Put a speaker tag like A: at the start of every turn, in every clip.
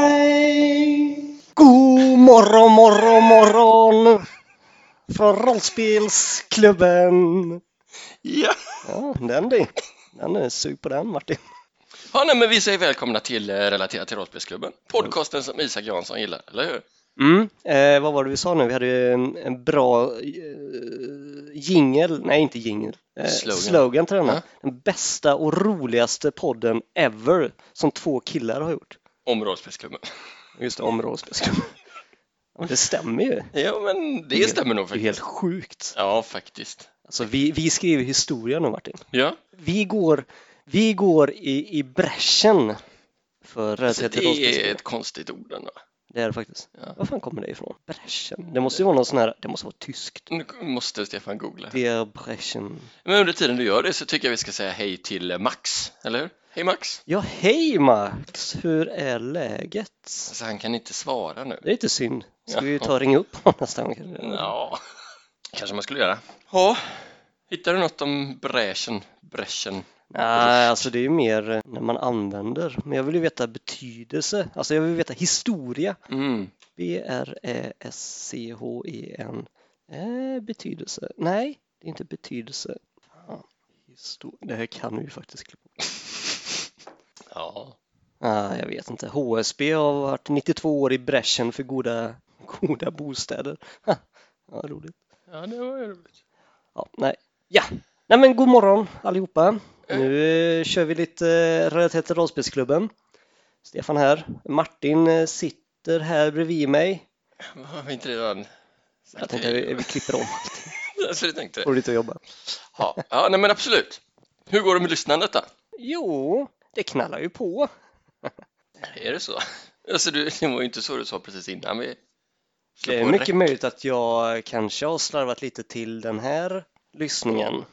A: Raj-da-da-da-daj-daj-daj.
B: God morgon, morgon, morgon från Rollspelsklubben.
C: Ja.
B: Ja, den du. Den är sug på den Martin.
C: ja, nej men vi säger välkomna till eh, Relaterat till rollspelsklubben. Podcasten som Isak Jansson gillar, eller hur?
B: Mm. Eh, vad var det vi sa nu? Vi hade ju en, en bra eh, jingel, nej inte jingel, eh,
C: Slogan.
B: slogan till denna.
C: Ja.
B: Den bästa och roligaste podden ever som två killar har gjort.
C: Om rollspelsklubben.
B: Just det, om rollspelsklubben. Ja, Det stämmer ju.
C: Ja, men det stämmer nog
B: Det är
C: faktiskt.
B: helt sjukt.
C: Ja, faktiskt.
B: Alltså, vi, vi skriver historia nu Martin.
C: Ja,
B: vi går, vi går i, i bräschen för
C: så
B: relaterat
C: Alltså, det
B: till
C: är
B: rollspelsspel.
C: ett konstigt ord ändå.
B: Det är det faktiskt.
C: Ja.
B: Var fan kommer det ifrån? Bräschen? Det måste ju vara någon sån här, det måste vara tyskt.
C: Nu måste Stefan googla.
B: Der Bräschen.
C: Men under tiden du gör det så tycker jag vi ska säga hej till eh, Max, eller hur? Hej Max!
B: Ja, hej Max! Hur är läget?
C: Alltså han kan inte svara nu.
B: Det är lite synd. Ska vi
C: Ja.
B: ta och ringa upp honom nästa gång? kanske?
C: Ja, kanske man skulle göra. Ja, hittar du något om bräschen? Bräschen?
B: Nej, alltså det är ju mer eh, när man använder. Men jag vill ju veta betydelse. Alltså jag vill veta historia.
C: Mm.
B: B-R-E-S-C-H-E-N. E Eh, betydelse. Nej, det är inte betydelse. Fan. Histo- Det här kan vi ju faktiskt klippa bort.
C: Ja,
B: ah, Jag vet inte. HSB har varit 92 år i bräschen för goda, goda bostäder. Ha, ja, roligt.
C: ja det var ju roligt.
B: Ja, nej. Ja, nej men god morgon allihopa. Nu eh, kör vi lite eh, relaterat till rollspelsklubben. Stefan här. Martin eh, sitter här bredvid mig.
C: Har vi inte redan
B: Jag
C: sagt
B: tänkte
C: hej?
B: vi, vi klipper om.
C: Alltså, det tänkte jag.
B: Går det inte att jobba?
C: Ja, ja nej, men absolut. Hur går det med lyssnandet då?
B: Jo, det knallar ju på.
C: Är det så? Alltså, du, det var ju inte så du sa precis innan vi slog
B: Det är
C: på
B: mycket
C: rec.
B: möjligt att jag kanske har slarvat lite till den här lyssningen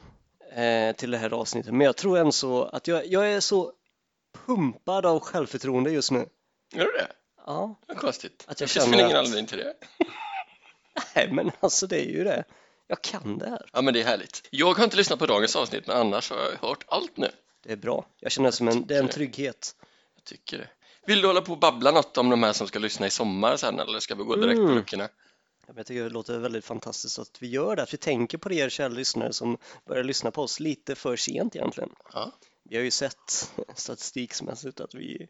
B: eh, till det här avsnittet, men jag tror ändå så att jag, jag är så pumpad av självförtroende just nu.
C: Gör du det?
B: Ja,
C: Vad konstigt.
B: Att
C: Att
B: jag
C: jag det
B: känner
C: finns väl ingen
B: att-
C: anledning till det?
B: nej men alltså det är ju det. Jag kan det här.
C: Ja, men det är härligt. Jag har inte lyssnat på dagens avsnitt, men annars har jag hört allt nu.
B: Det är bra. Jag känner det som en, det är en
C: tycker det.
B: trygghet.
C: Jag tycker det. Vill du hålla på och babbla något om de här som ska lyssna i sommar sen, eller ska vi gå direkt
B: Mm.
C: på luckorna?
B: Ja, men Jag tycker det låter väldigt fantastiskt att vi gör det, att vi tänker på det, er kära lyssnare som börjar lyssna på oss lite för sent egentligen.
C: Ja.
B: Vi har ju sett statistiksmässigt att vi,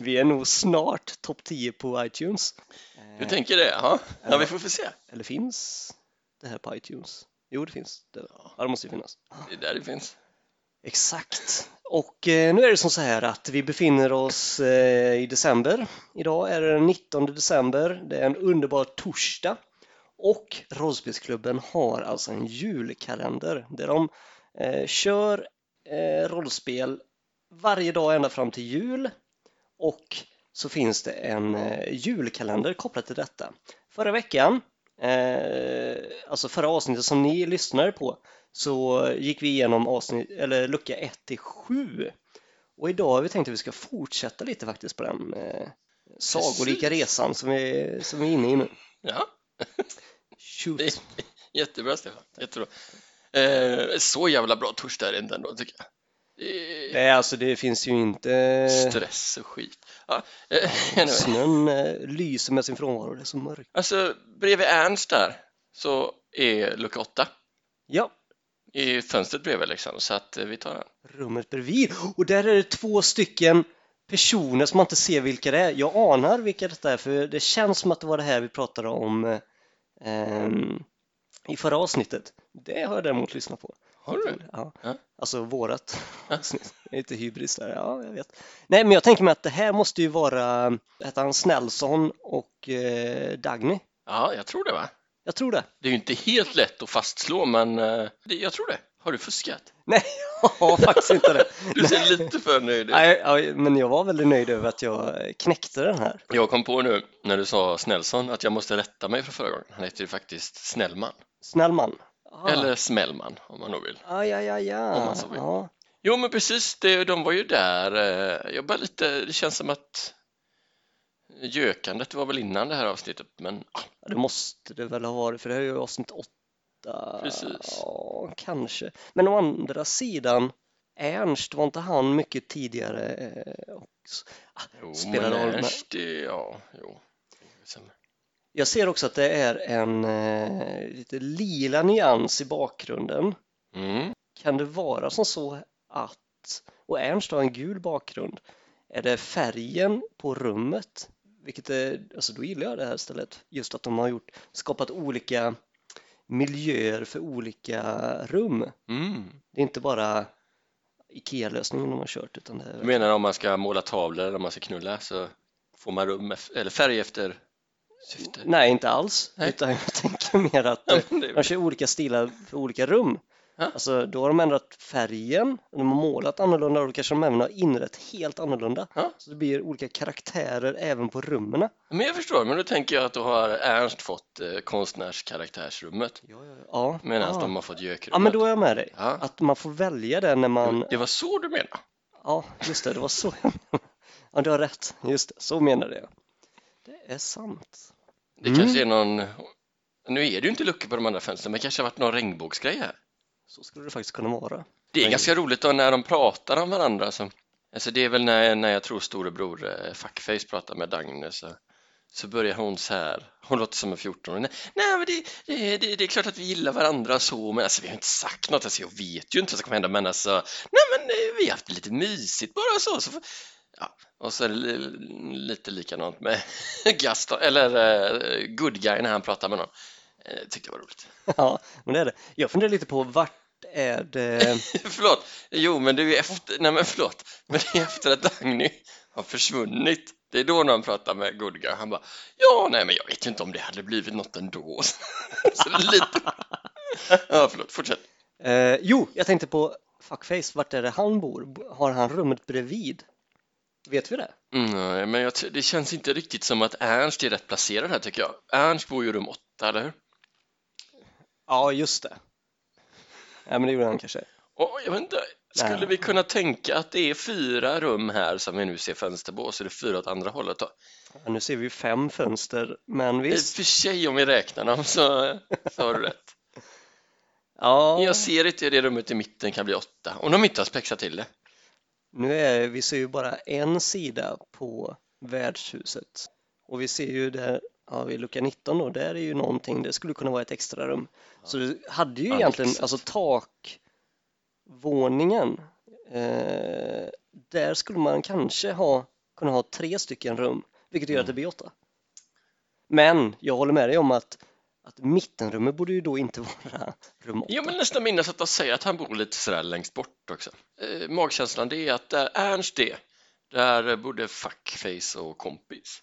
B: vi är nog snart topp 10 på iTunes.
C: Du tänker det? Ja, ja vi får få se.
B: Eller finns det här på iTunes? Jo, det finns. Det, ja, det måste ju finnas.
C: Det är där det finns.
B: Exakt. Och eh, nu är det som så här att vi befinner oss eh, i december. Idag är det den 19 december. Det är en underbar torsdag. Och Rollspelsklubben har alltså en julkalender där de eh, kör eh, rollspel varje dag ända fram till jul. Och så finns det en eh, julkalender kopplat till detta. Förra veckan, eh, alltså förra avsnittet som ni lyssnade på, så gick vi igenom avsnitt, eller lucka 1 till 7. Och idag har vi tänkt att vi ska fortsätta lite faktiskt på den eh, sagolika
C: Precis.
B: resan som vi, som vi är inne i nu.
C: Ja.
B: Shoot.
C: Det- Jättebra Stefan, jättebra. Eh, så jävla bra torsdag är det inte ändå tycker jag. Det är
B: Nej, alltså det finns ju inte...
C: stress och skit. Ja, eh, anyway.
B: Snön eh, lyser med sin frånvaro, det är så mörkt.
C: Alltså bredvid Ernst där så är lucka 8
B: Ja,
C: i fönstret bredvid liksom så att eh, vi tar den.
B: rummet bredvid. Och där är det två stycken personer som man inte ser vilka det är. Jag anar vilka detta är, för det känns som att det var det här vi pratade om eh, ehm, i förra avsnittet. Det har jag däremot lyssnat på.
C: Har du?
B: Ja.
C: Ja.
B: Alltså vårat
C: Ja.
B: avsnitt. Det är Lite hybris där, ja jag vet. Nej men jag tänker mig att det här måste ju vara, heter han Snällson och eh, Dagny?
C: Ja, jag tror det va?
B: Jag tror det.
C: Det är ju inte helt lätt att fastslå men eh, det, jag tror det. Har du fuskat?
B: Nej, jag har faktiskt inte det.
C: Du ser lite för nöjd ut.
B: Nej, ja, men jag var väldigt nöjd över att jag knäckte den här.
C: Jag kom på nu när du sa Snällson att jag måste rätta mig från förra gången. Han heter ju faktiskt Snällman
B: Snäll man. Ah.
C: eller Smällman om man nog vill.
B: Ah, ja, ja, ja.
C: Om man så vill.
B: ja.
C: Jo, men precis, det, de var ju där. eh, Jag bara lite, det känns som att gökandet var väl innan det här avsnittet, men ah,
B: Ja, Det måste det väl ha varit, för det här är ju avsnitt åtta.
C: Precis.
B: Ja, kanske. Men å andra sidan, Ernst, var inte han mycket tidigare? eh, Och, s- ah,
C: Jo,
B: spelar
C: men
B: roll, men-
C: Ernst, det, ja, jo. Sen-
B: Jag ser också att det är en eh, lite lila nyans i bakgrunden.
C: Mm.
B: Kan det vara som så att, och Ernst har en gul bakgrund, är det färgen på rummet? Vilket är, alltså då gillar jag det här stället. Just att de har gjort, skapat olika miljöer för olika rum.
C: Mm.
B: Det är inte bara IKEA-lösningen de har kört utan det
C: Du
B: är,
C: menar om man ska måla tavlor eller om man ska knulla så får man rum ef- eller färg efter syfte?
B: Nej, inte alls.
C: Nej.
B: Utan jag tänker mer att
C: Ja,
B: eh,
C: men det är
B: de
C: väl-
B: kör olika stilar för olika rum.
C: Ja.
B: Alltså, då har de ändrat färgen, de har målat annorlunda och då kanske de även har inrett helt annorlunda.
C: Ja.
B: Så det blir olika karaktärer även på rummen.
C: Men jag förstår, men då tänker jag att då har Ernst fått eh, konstnärskaraktärsrummet
B: Ja, ja, ja.
C: medan
B: ja.
C: de har fått
B: Ah. ja, men
C: gökrummet.
B: då är jag med dig.
C: Ja.
B: Att man får välja det när man...
C: Det var så du menade?
B: Ja, just det, det var så jag menade. Ja, du har rätt. Just det, så menade jag. Det är sant.
C: Det
B: Mm.
C: kanske är någon... Nu är det ju inte luckor på de andra fönstren, men det kanske har varit någon regnbågsgrej här.
B: Så skulle det faktiskt kunna vara.
C: Det är
B: Nej.
C: ganska roligt då när de pratar om varandra. Så, alltså det är väl när, när jag tror storebror eh, Fuckface pratar med Dagne så, så börjar hon så här. Hon låter som en 14 Nej, nej men det, det, det, det är klart att vi gillar varandra så, men alltså, vi har inte sagt något. Alltså, jag vet ju inte vad som kommer hända, men alltså, nej men eh, vi har haft det lite mysigt bara så. så får- ja. Och så är det li- lite likadant med Gaston, eller eh, Good Guy när han pratar med någon. Eh, tyckte jag var roligt.
B: Ja, men det är det. Jag funderar lite på vart är det...
C: Förlåt, jo men det är ju efter, nej men förlåt, men det är efter att Dagny har försvunnit. Det är då när han pratar med Gudga, han bara ja nej men jag vet ju inte om det hade blivit något ändå. Så det är lite, ja förlåt, fortsätt.
B: Eh, jo, jag tänkte på Fuckface, vart är det han bor? B- Har han rummet bredvid? Vet vi det?
C: Mm, men jag, ty- det känns inte riktigt som att Ernst är rätt placerad här tycker jag. Ernst bor ju i rum 8, eller hur?
B: Ja, just det. Ja, men det gjorde han kanske.
C: Och, jag vet inte, skulle
B: Nej.
C: vi kunna tänka att det är fyra rum här som vi nu ser fönster på och så är det fyra åt andra hållet då?
B: Ja, nu ser vi ju fem fönster, men
C: I och
B: visst.
C: för sig om vi räknar dem så, så har du rätt.
B: Ja,
C: Jag ser inte hur det rummet i mitten kan bli åtta, om de inte har spexat till det.
B: nu är vi ser ju bara en sida på värdshuset och vi ser ju där, ja, vid lucka 19 då, där är ju någonting, det skulle kunna vara ett extra rum. Så du hade ju
C: Ja,
B: egentligen,
C: exakt.
B: alltså takvåningen, eh, där skulle man kanske ha, kunna ha tre stycken rum, vilket gör att
C: Mm.
B: det blir åtta. Men jag håller med dig om att, att mittenrummet borde ju då inte vara rum åtta.
C: Jag vill nästan minnas att de säger att han bor lite sådär längst bort också. Eh, magkänslan det är att där Ernst är, där bodde fuckface och kompis.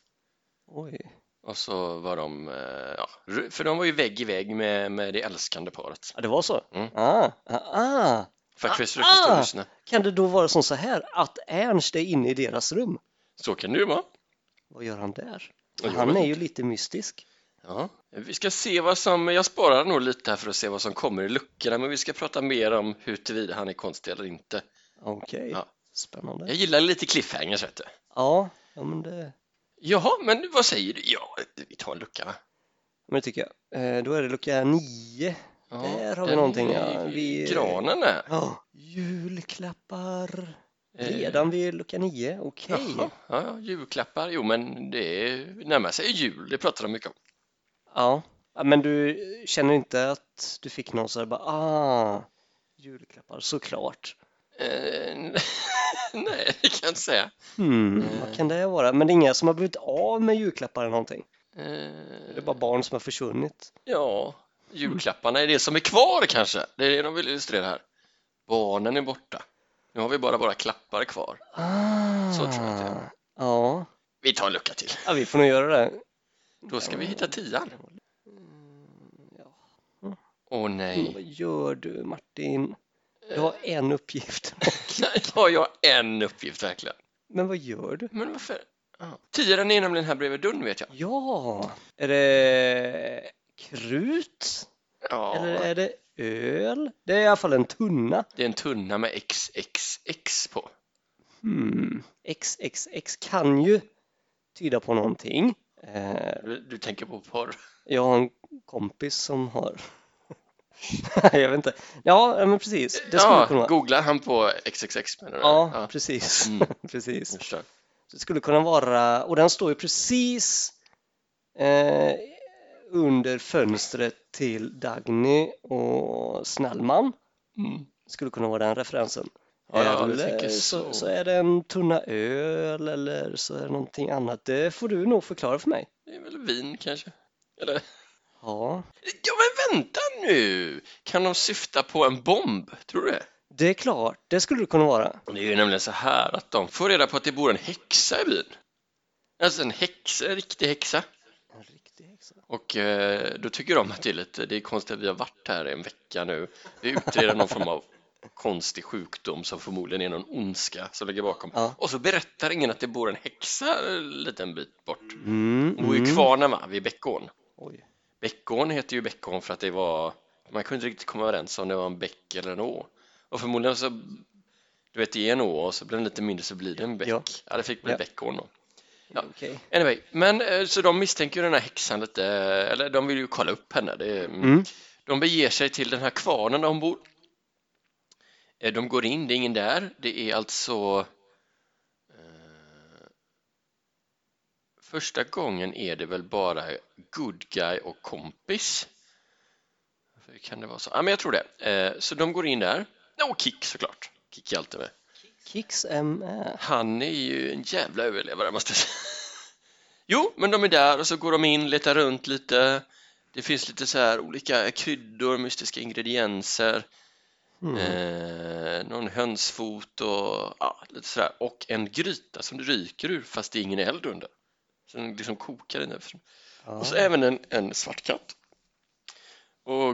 B: Oj.
C: Och så var de, eh, ja, ru- för de var ju vägg i vägg med, med det älskande paret.
B: Ja, det var så?
C: Mm.
B: Ah, ah, ah.
C: Fuckface
B: Ah,
C: brukar stå och
B: ah!
C: lyssna.
B: Kan det då vara som så här att Ernst är inne i deras rum?
C: Så kan det ju vara.
B: Vad gör han där?
C: Jag
B: han
C: vet
B: är ju lite mystisk.
C: Ja. Vi ska se vad som, jag sparar nog lite här för att se vad som kommer i luckorna, men vi ska prata mer om huruvida han är konstig eller inte.
B: Okej,
C: Ja. Eh. Jag
B: spännande.
C: gillar lite cliffhangers vet du.
B: Ja, ja men, det,
C: Jaha, men vad säger du? Ja, vi tar en lucka va?
B: men det tycker jag. Eh, då är det lucka nio.
C: Ja,
B: Där har vi
C: den
B: någonting,
C: är
B: ja.
C: i
B: Vi-
C: Granen där.
B: Ja, julklappar.
C: Eh,
B: Redan vid lucka nio, okej.
C: Jaha, ja, ja, julklappar. Jo, men det är- närmar sig jul, det pratar de mycket om.
B: Ja. ja, men du känner inte att du fick någon så här bara ah, julklappar såklart.
C: Eh, nej, det kan jag inte säga.
B: Hmm,
C: Eh.
B: vad kan det vara? Men det är inga som har blivit av med julklappar eller någonting. Det är
C: Eh,
B: bara barn som har försvunnit.
C: ja, julklapparna är det som är kvar kanske. Det är det de vill illustrera här. Barnen är borta. Nu har vi bara våra klappar kvar.
B: Ah,
C: Så tror jag att det är.
B: Ja.
C: Vi tar en lucka till.
B: ja, vi får nog göra det.
C: Då ska vi hitta tian.
B: Mm, ja.
C: Åh
B: Mm,
C: nej, Eh.
B: Vad gör du Martin? Du har en uppgift.
C: har jag en uppgift verkligen?
B: Men vad gör du?
C: Men varför? Ja. Tian är nämligen här bredvid dörren vet jag.
B: Ja, är det krut?
C: Ja.
B: Eller eh, är det öl? Det är i alla fall en tunna.
C: Det är en tunna med XXX på.
B: Hmm. XXX kan ju tyda på någonting. Eh,
C: Du, du tänker på porr.
B: Jag har en kompis som har jag vet inte. Ja, men precis. Det skulle kunna
C: Ja,
B: vara.
C: googlar han på XXX menar du?
B: Ja, precis.
C: Mm.
B: precis.
C: jag förstår.
B: Det skulle kunna vara, och den står ju precis eh, under fönstret till Dagny och Snellman.
C: Mm.
B: Skulle kunna vara den referensen.
C: Ja, ja, du
B: eller
C: tänker
B: eh, så,
C: så.
B: så är det en tunna öl eller så är det någonting annat. Det får du nog förklara för mig.
C: Det är väl vin kanske? Eller?
B: Ja,
C: Ja men vänta nu! Kan de syfta på en bomb? Tror du det?
B: det är klart. Det skulle det kunna vara.
C: Det är ju nämligen så här att de får reda på att det bor en häxa i byn. Alltså en häxa, en riktig häxa.
B: En riktig häxa.
C: Och eh, då tycker de att det är lite, det är konstigt att vi har varit här i en vecka nu. Vi utreder någon form av konstig sjukdom som förmodligen är någon ondska som ligger bakom.
B: Ja.
C: Och så berättar ingen att det bor en häxa en liten bit bort.
B: Mm,
C: Hon bor ju i
B: mm.
C: Kvarna va, vid Bäckån.
B: Oj.
C: Bäckån heter ju Bäckån för att det var, man kunde inte riktigt komma överens om det var en bäck eller en å. Och förmodligen så, du vet det är en å och så blir den lite mindre så blir det en bäck.
B: Ja.
C: Ja, det fick bli
B: Ja.
C: Bäckån då.
B: Ja.
C: Ja.
B: Okej.
C: Anyway, men eh, så de misstänker ju den här häxan lite, eh, eller de vill ju kolla upp henne. Det, är-
B: Mm.
C: De beger sig till den här kvarnen där hon bor. Eh, De går in, det är ingen där. Det är alltså... Eh, första gången är det väl bara good guy och kompis. Hur kan det vara så? Ja, men jag tror det. Eh, så de går in där. Och Kick såklart. Kick är alltid med.
B: Kicks MR.
C: Han är ju en jävla överlevare måste jag säga. Jo, men de är där och så går de in, letar runt lite. Det finns lite så här olika kryddor, mystiska ingredienser,
B: Mm.
C: eh, någon hönsfot och ja, lite sådär. Och en gryta som det ryker ur fast det är ingen eld under. Så den liksom kokar inne.
B: Ja.
C: Och så även en, en svart katt. Och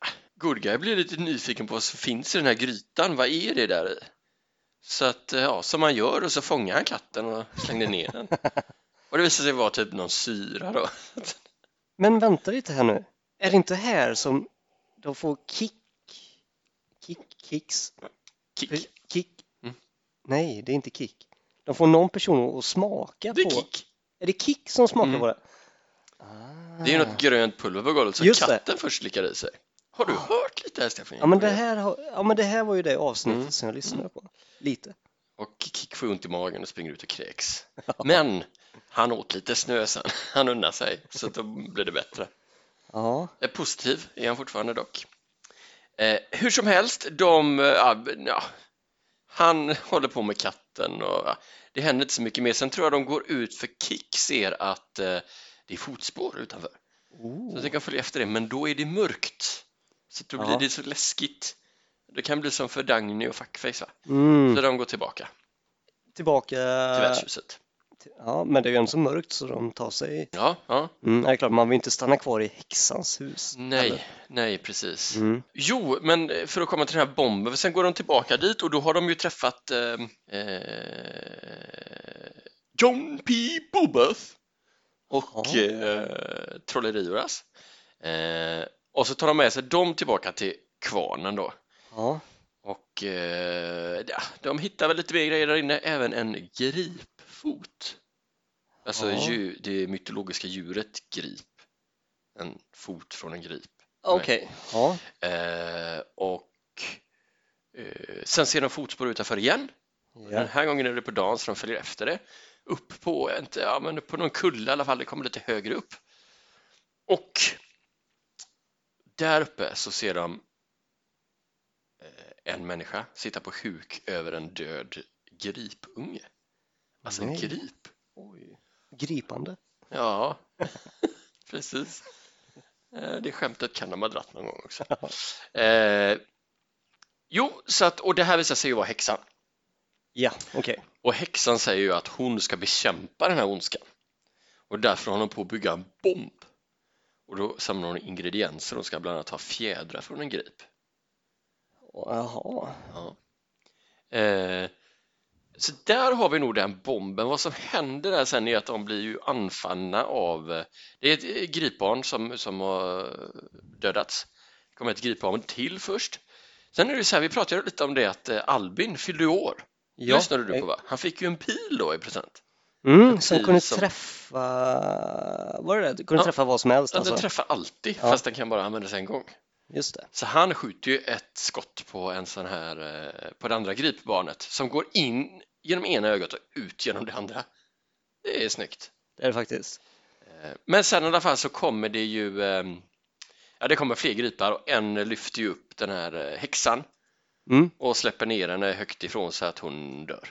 C: ah, Good Guy blir lite nyfiken på vad som finns i den här grytan. Vad är det där i? Så att, eh, ja, som man gör och så fångar han katten och slängde ner den. Och det visade sig vara typ någon syra då.
B: Men vänta lite här nu. Är det inte här som de får kick? Kick, kicks?
C: Kick.
B: kick?
C: Mm.
B: Nej, det är inte kick. De får någon person att smaka
C: Det
B: på.
C: är kick.
B: Är det kick som smakar
C: Mm.
B: på det? Ah.
C: Det är ju något grönt pulver på golvet som
B: Just det. Ah.
C: katten först slickar i sig. Har du hört lite här Stefan?
B: Ja men, det här, har- ja men det här var ju det avsnittet
C: Mm.
B: som jag lyssnade på. Lite.
C: Och Kick får ont i magen och springer ut och kräks. Men han åt lite snö sen. Han unnar sig så att då blir det bättre.
B: Ja.
C: Eh, Positiv är han fortfarande dock. Eh, hur som helst, de, eh, ja, b- ja, han håller på med katten och ja, det händer inte så mycket mer. Sen tror jag de går ut för Kick ser att eh, det är fotspår utanför. Så
B: Oh.
C: jag tänker följa efter det, men då är det mörkt. Så då blir
B: Ja.
C: det så läskigt. Det kan bli som för Dagny och Fuckface va?
B: Mm. Eh.
C: Så de går tillbaka
B: Tillbaka.
C: till värdshuset.
B: Ja men det är ju ändå så mörkt så de tar sig.
C: Ja, ja.
B: Mm, ja, det är klart man vill inte stanna kvar i häxans hus.
C: Nej, nej precis.
B: Mm.
C: Jo, men eh, för att komma till den här bomben, för sen går de tillbaka dit och då har de ju träffat eh, eh, John P. Bobeth och
B: Ja.
C: eh, Trolleriuras. Eh, och så tar de med sig dem tillbaka till kvarnen då.
B: Ja.
C: Och eh, ja, de hittar väl lite mer grejer där inne, även en gripfot. Alltså
B: Ja.
C: dju- det mytologiska djuret grip. En fot från en grip.
B: Okej. Ja.
C: Eh, och eh, sen ser de fotspår utanför igen. Den
B: ja.
C: här gången är det på dagen så de följer efter det. Upp på, inte, ja, men på någon kulle i alla fall, det kommer lite högre upp. Och där uppe så ser de eh, en människa sitta på huk över en död gripunge. Alltså en
B: Nej.
C: grip.
B: Oj. Gripande.
C: Ja, precis. Eh, Det skämtet kan de ha dratt någon gång också. Eh, jo, så att, och det här visar sig ju vara häxan.
B: Ja, okej.
C: Och häxan säger ju att hon ska bekämpa den här ondskan. Och därför håller hon på att bygga en bomb. Och då samlar hon ingredienser. Hon ska bland annat ha fjädrar från en grip.
B: Jaha.
C: Ja. Eh, så där har vi nog den bomben. Vad som händer där sen är att de blir ju anfallna av... eh, Det är ett eh, gripbarn som, som har eh, dödats. Det kommer ett gripbarn till först. Sen är det så här, vi pratade ju lite om det att eh, Albin fyllde ju år.
B: Ja. Eh.
C: Lyssnade du på va? Han fick ju en pil då i present.
B: Mm,
C: En
B: som
C: pil
B: kunde
C: som-
B: träffa, var det det? Kunde
C: Ja.
B: träffa vad som helst
C: Den
B: alltså?
C: träffar alltid
B: Ja.
C: fast den kan bara användas en gång.
B: Just det.
C: Så han skjuter ju ett skott på en sån här, eh, på det andra gripbarnet som går in genom ena ögat och ut genom det andra. Det är snyggt.
B: Det är det faktiskt.
C: Eh, Men sen i alla fall så kommer det ju, ehm, ja det kommer fler gripar och en lyfter ju upp den här eh, häxan
B: Mm.
C: och släpper ner henne högt ifrån så att hon dör.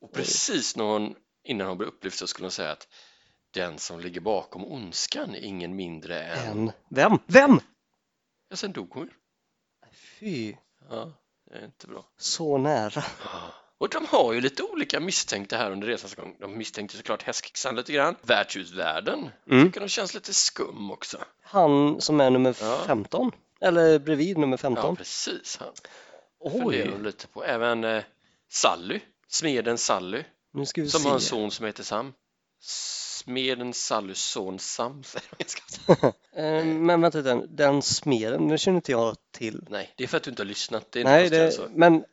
C: Och precis när hon, innan hon blir upplyft så skulle hon säga att den som ligger bakom ondskan är ingen mindre än...
B: En. Vem? Vem?
C: Ja, sen dog hon ju.
B: Fy,
C: Ja, det är inte bra.
B: så nära.
C: Och de har ju lite olika misstänkta här under resans gång. De misstänkte såklart hästkixan lite grann. Värdshusvärden
B: Mm.
C: tycker de känns lite skum också.
B: Han som är nummer
C: Ja.
B: 15. Eller bredvid nummer
C: Ja,
B: 15.
C: precis. Han funderar de
B: Oj,
C: lite på. Även eh, Sally, smeden Sally,
B: nu ska vi
C: som
B: se.
C: har en son som heter Sam. Smeden Sallys son Sam, säger de ganska ofta.
B: Eh, Men vänta lite, den, den smeden, den känner inte jag till.
C: Nej, det är för att du inte har lyssnat. Det är
B: Nej,
C: Nej,
B: det,
C: alltså.
B: men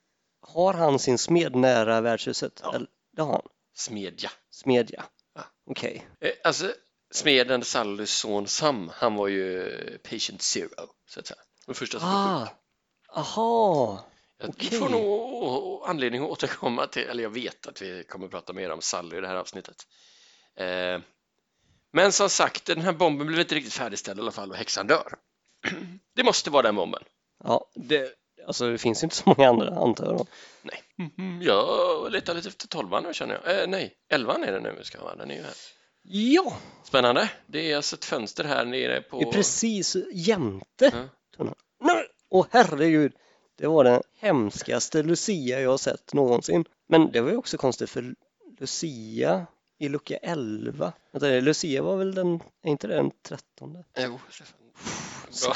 B: har han sin smed nära värdshuset?
C: Ja.
B: Eller, det har han.
C: Smedja.
B: Smedja.
C: Ja.
B: Ah, Okej.
C: Eh, Alltså, smeden Sallys son Sam, han var ju patient zero, så att säga. Den första som blev sjuk.
B: Ah, aha.
C: Jag
B: Okej.
C: får nog å- å- anledning att återkomma till, eller jag vet att vi kommer att prata mer om Sally i det här avsnittet. Eh, men som sagt, den här bomben blev inte riktigt färdigställd i alla fall och häxan dör. Det måste vara den bomben.
B: Ja, det, alltså det finns ju inte så många andra antar jag. då.
C: Nej.
B: Mm.
C: Mhm, Jag letar lite efter tolvan nu känner jag. Eh, nej, elvan är det nu. Ska vara. Den är ju här.
B: Ja,
C: Spännande. Det är alltså ett fönster här nere
B: det är
C: på...
B: precis jämte
C: Ja.
B: tunnan. Nej, Åh herregud, det var den hemskaste Lucia jag har sett någonsin. Men det var ju också konstigt för Lucia i lucka 11. Vänta, Lucia var väl den, är inte det den 13?
C: Jo, Stefan. oh, Bra.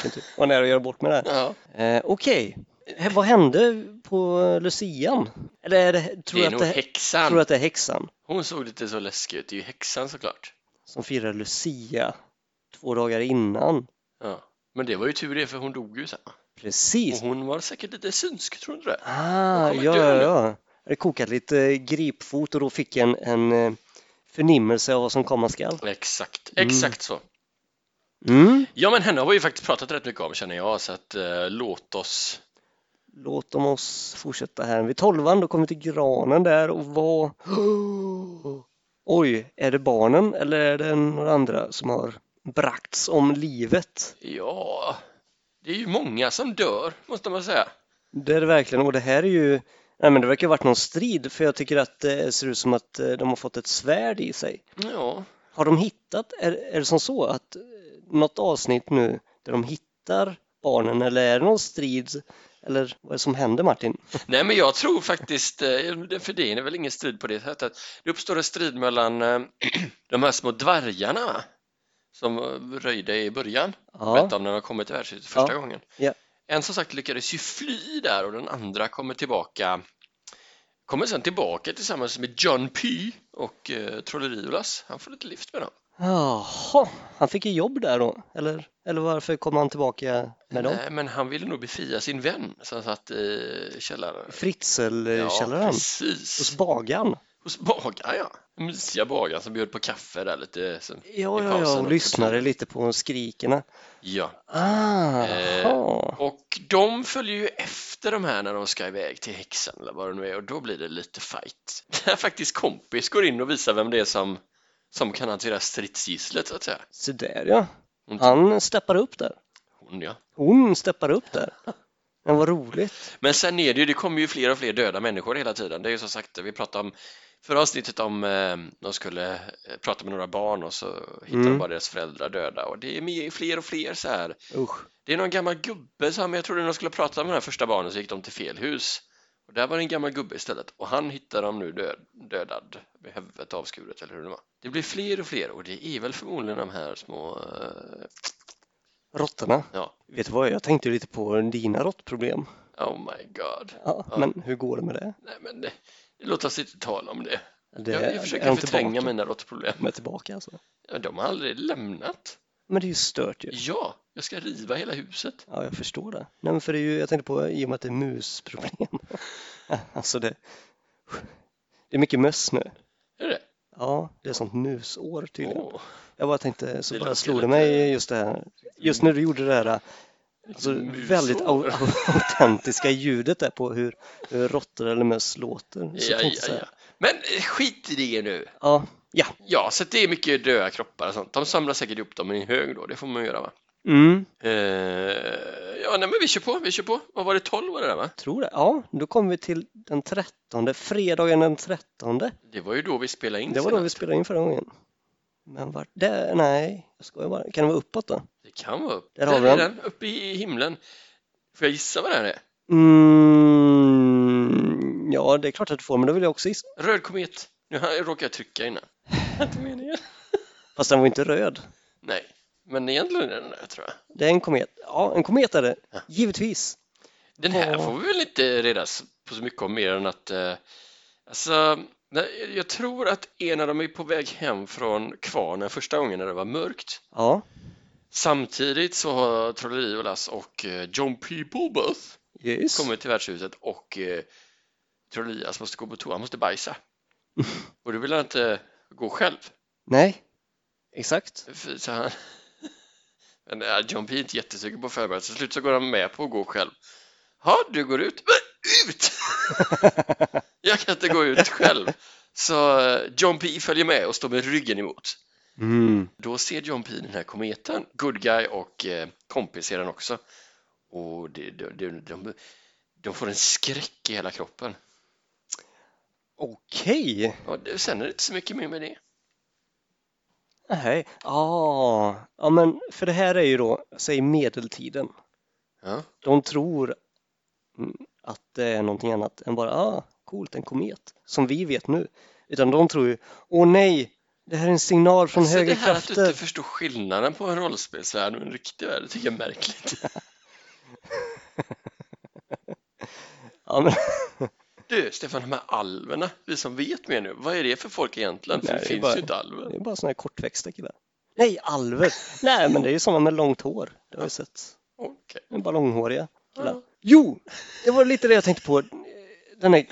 B: Säkert, typ. Var nära att göra bort med det här.
C: Ja.
B: Eh, Okej, Eh, vad hände på Lucian? Eller är det, tror
C: Det är
B: jag att
C: nog
B: det,
C: häxan.
B: tror jag att det är häxan
C: Hon såg lite så läskig ut. Det är ju häxan såklart.
B: som firar Lucia två dagar innan?
C: Ja. Men det var ju tur det, för hon dog ju sen. Och
B: Precis.
C: hon var säkert lite synsk, tror du inte det?
B: Ah,
C: Mm-hmm. kommer
B: ja,
C: dö
B: ja,
C: nu.
B: ja. Jag hade kokat lite eh, gripfot och då fick jag en, en eh, förnimmelse av vad som komma skall.
C: Exakt,
B: Mm.
C: exakt så.
B: Mm.
C: Ja, men henne har vi ju faktiskt pratat rätt mycket om känner jag, så att eh, låt oss.
B: Låt om oss fortsätta här. Vid tolvan, då kommer vi till granen där och vad... Oj, är det barnen eller är det några andra som har bragts om livet?
C: Ja, det är ju många som dör, måste man säga.
B: Det är det verkligen och det här är ju... Nej men det verkar ha varit någon strid för jag tycker att det ser ut som att eh, de har fått ett svärd i sig.
C: Ja,
B: Har de hittat, är, är det som så att eh, något avsnitt nu där de hittar barnen eller är det någon strid? Eller vad är det som händer Martin?
C: nej, men jag tror faktiskt, eh, det- för det är väl ingen strid på det sättet. Det uppstår en strid mellan eh, de här små dvärgarna va? som eh, röjde i början.
B: Ja,
C: berätta om när de kommit till värdshuset första
B: Ja.
C: gången.
B: Ja.
C: En som sagt lyckades ju fly där och den andra kommer tillbaka kommer sen tillbaka tillsammans med John P och eh, Trolleriulas. Han får lite lift med dem.
B: jaha, han fick ju jobb där då eller? Eller varför kom han tillbaka med dem?
C: Nej, Eh, men han ville nog befria sin vän som satt i källaren. Ja,
B: Fritzelkällaren hos
C: precis.
B: bagaren?
C: Hos bagaren ja. Den Mysiga bagaren som bjöd på kaffe där lite. Så.
B: Ja, ja,
C: pausen
B: ja,
C: också.
B: och lyssnade lite på skrikerna.
C: Ja.
B: Ah,
C: Eh,
B: jaha.
C: Och de följer ju efter de här när de ska iväg till häxan eller vad det nu är och då blir det lite fight. Där faktiskt kompis går in och visar vem det är som, som kan hantera stridsgisslet så att säga.
B: Så där ja.
C: Hon-
B: Han steppar upp där.
C: Hon ja.
B: Hon steppar upp där. Men vad roligt.
C: Men sen är det ju, det kommer ju fler och fler döda människor hela tiden. Det är ju som sagt, vi pratade om förra avsnittet om eh, de skulle eh, prata med några barn och så hittar de
B: Mm.
C: bara deras föräldrar döda och det är mer- fler och fler så här
B: Usch.
C: Det är någon gammal gubbe som jag trodde när de skulle prata med det här första barnen så gick de till fel hus. Och där var det en gammal gubbe istället och han hittar dem nu död, dödad med huvudet avskuret eller hur det var. Det blir fler och fler och det är väl förmodligen de här små... eh,
B: Råttorna.
C: Ja.
B: Vet du vad, jag tänkte lite på dina råttproblem.
C: oh my god.
B: Ja,
C: Ja.
B: Men hur går det med det?
C: Nej men det, låt oss inte tala om det.
B: det
C: jag, jag
B: är
C: försöker
B: de
C: förtränga
B: tillbaka?
C: mina råttproblem.
B: De är tillbaka alltså.
C: Ja, De har aldrig lämnat.
B: Men det är ju stört ju.
C: Ja, jag ska riva hela huset.
B: Ja, jag förstår det. Nej, men för det är ju, jag tänkte på i och med att det är musproblem. alltså det, det är mycket möss nu.
C: Är det?
B: Ja, det är sånt musår tydligen.
C: Åh,
B: Jag bara tänkte, så
C: Det
B: bara
C: låter
B: slog det
C: lite-
B: mig just det här. Just när du gjorde det här Alltså,
C: Mm,
B: väldigt au- au- autentiska ljudet där på hur, hur råttor eller möss låter. Så tänkte
C: Ja,
B: jag
C: ja,
B: säga.
C: ja. Men eh, skit i det nu.
B: ja. ja.
C: Ja, så att det är mycket döda kroppar och sånt. De samlar säkert ihop dem i en hög då, det får man göra va?
B: Mm,
C: Eh, ja, nej men vi kör på, vi kör på. Vad var det, 12 var det där va?
B: tror det. Ja, då kommer vi till den 13, fredagen den 13.
C: Det var ju då vi spelade in
B: Det var då vi spelade in förra gången. Men vart det? Nej, jag skojar bara. Kan det vara uppåt då?
C: Det kan vara upp.
B: Där
C: Där,
B: har vi
C: är
B: den.
C: den, uppe i himlen. Får jag gissa vad det här är?
B: Mm, ja, det är klart att du får, men då vill jag också gissa.
C: Röd komet. Nu har- råkade jag trycka innan. Det var inte meningen.
B: Fast den var inte röd.
C: Nej, men egentligen är den där tror jag.
B: Det är en komet. Ja, en komet är det. Givetvis.
C: Den här
B: Ja.
C: får vi väl inte reda s- på så mycket om mer än att eh, alltså, nej, jag tror att en av dem är på väg hem från kvarnen första gången när det var mörkt.
B: Ja,
C: Samtidigt så har Trolleriolas och eh, John P. Bobbath
B: yes.
C: kommit till värdshuset och eh, Trollias måste gå på toa, han måste bajsa. Och då vill han inte gå själv.
B: Nej, exakt.
C: För- Så han... Men eh, John P är inte jättesugen på förberedelse, till slut så går han med på att gå själv. Ja, du går ut. Men ut! Jag kan inte gå ut själv. Så eh, John P följer med och står med ryggen emot.
B: Mm.
C: Då ser John P den här kometen, good guy och eh, kompis ser den också. Och det, det, det, de, de får en skräck i hela kroppen.
B: Okej.
C: Och det, sen är det inte så mycket mer med det.
B: Nej. Ah. Ja, men för det här är ju då, säg medeltiden.
C: Ja.
B: De tror mm, att det är någonting annat än bara, ah, coolt, en komet, som vi vet nu. Utan de tror ju, åh nej, det här är en signal från
C: Alltså,
B: högre
C: det här att du
B: krafter.
C: inte förstår skillnaden på en rollspelsvärld och en riktig värld, det tycker jag är märkligt.
B: Ja, men,
C: Du, Stefan, de här alverna, vi som vet mer nu, vad är det för folk egentligen? För
B: Nej,
C: det
B: det är
C: finns
B: bara-
C: ju inte alver.
B: det är bara såna här kortväxta killar. Nej, alver! nej, men det är ju samma med långt hår. Det har jag sett.
C: Okej.
B: Det är bara långhåriga killar.
C: Ja.
B: Jo, det var lite det jag tänkte på. Den här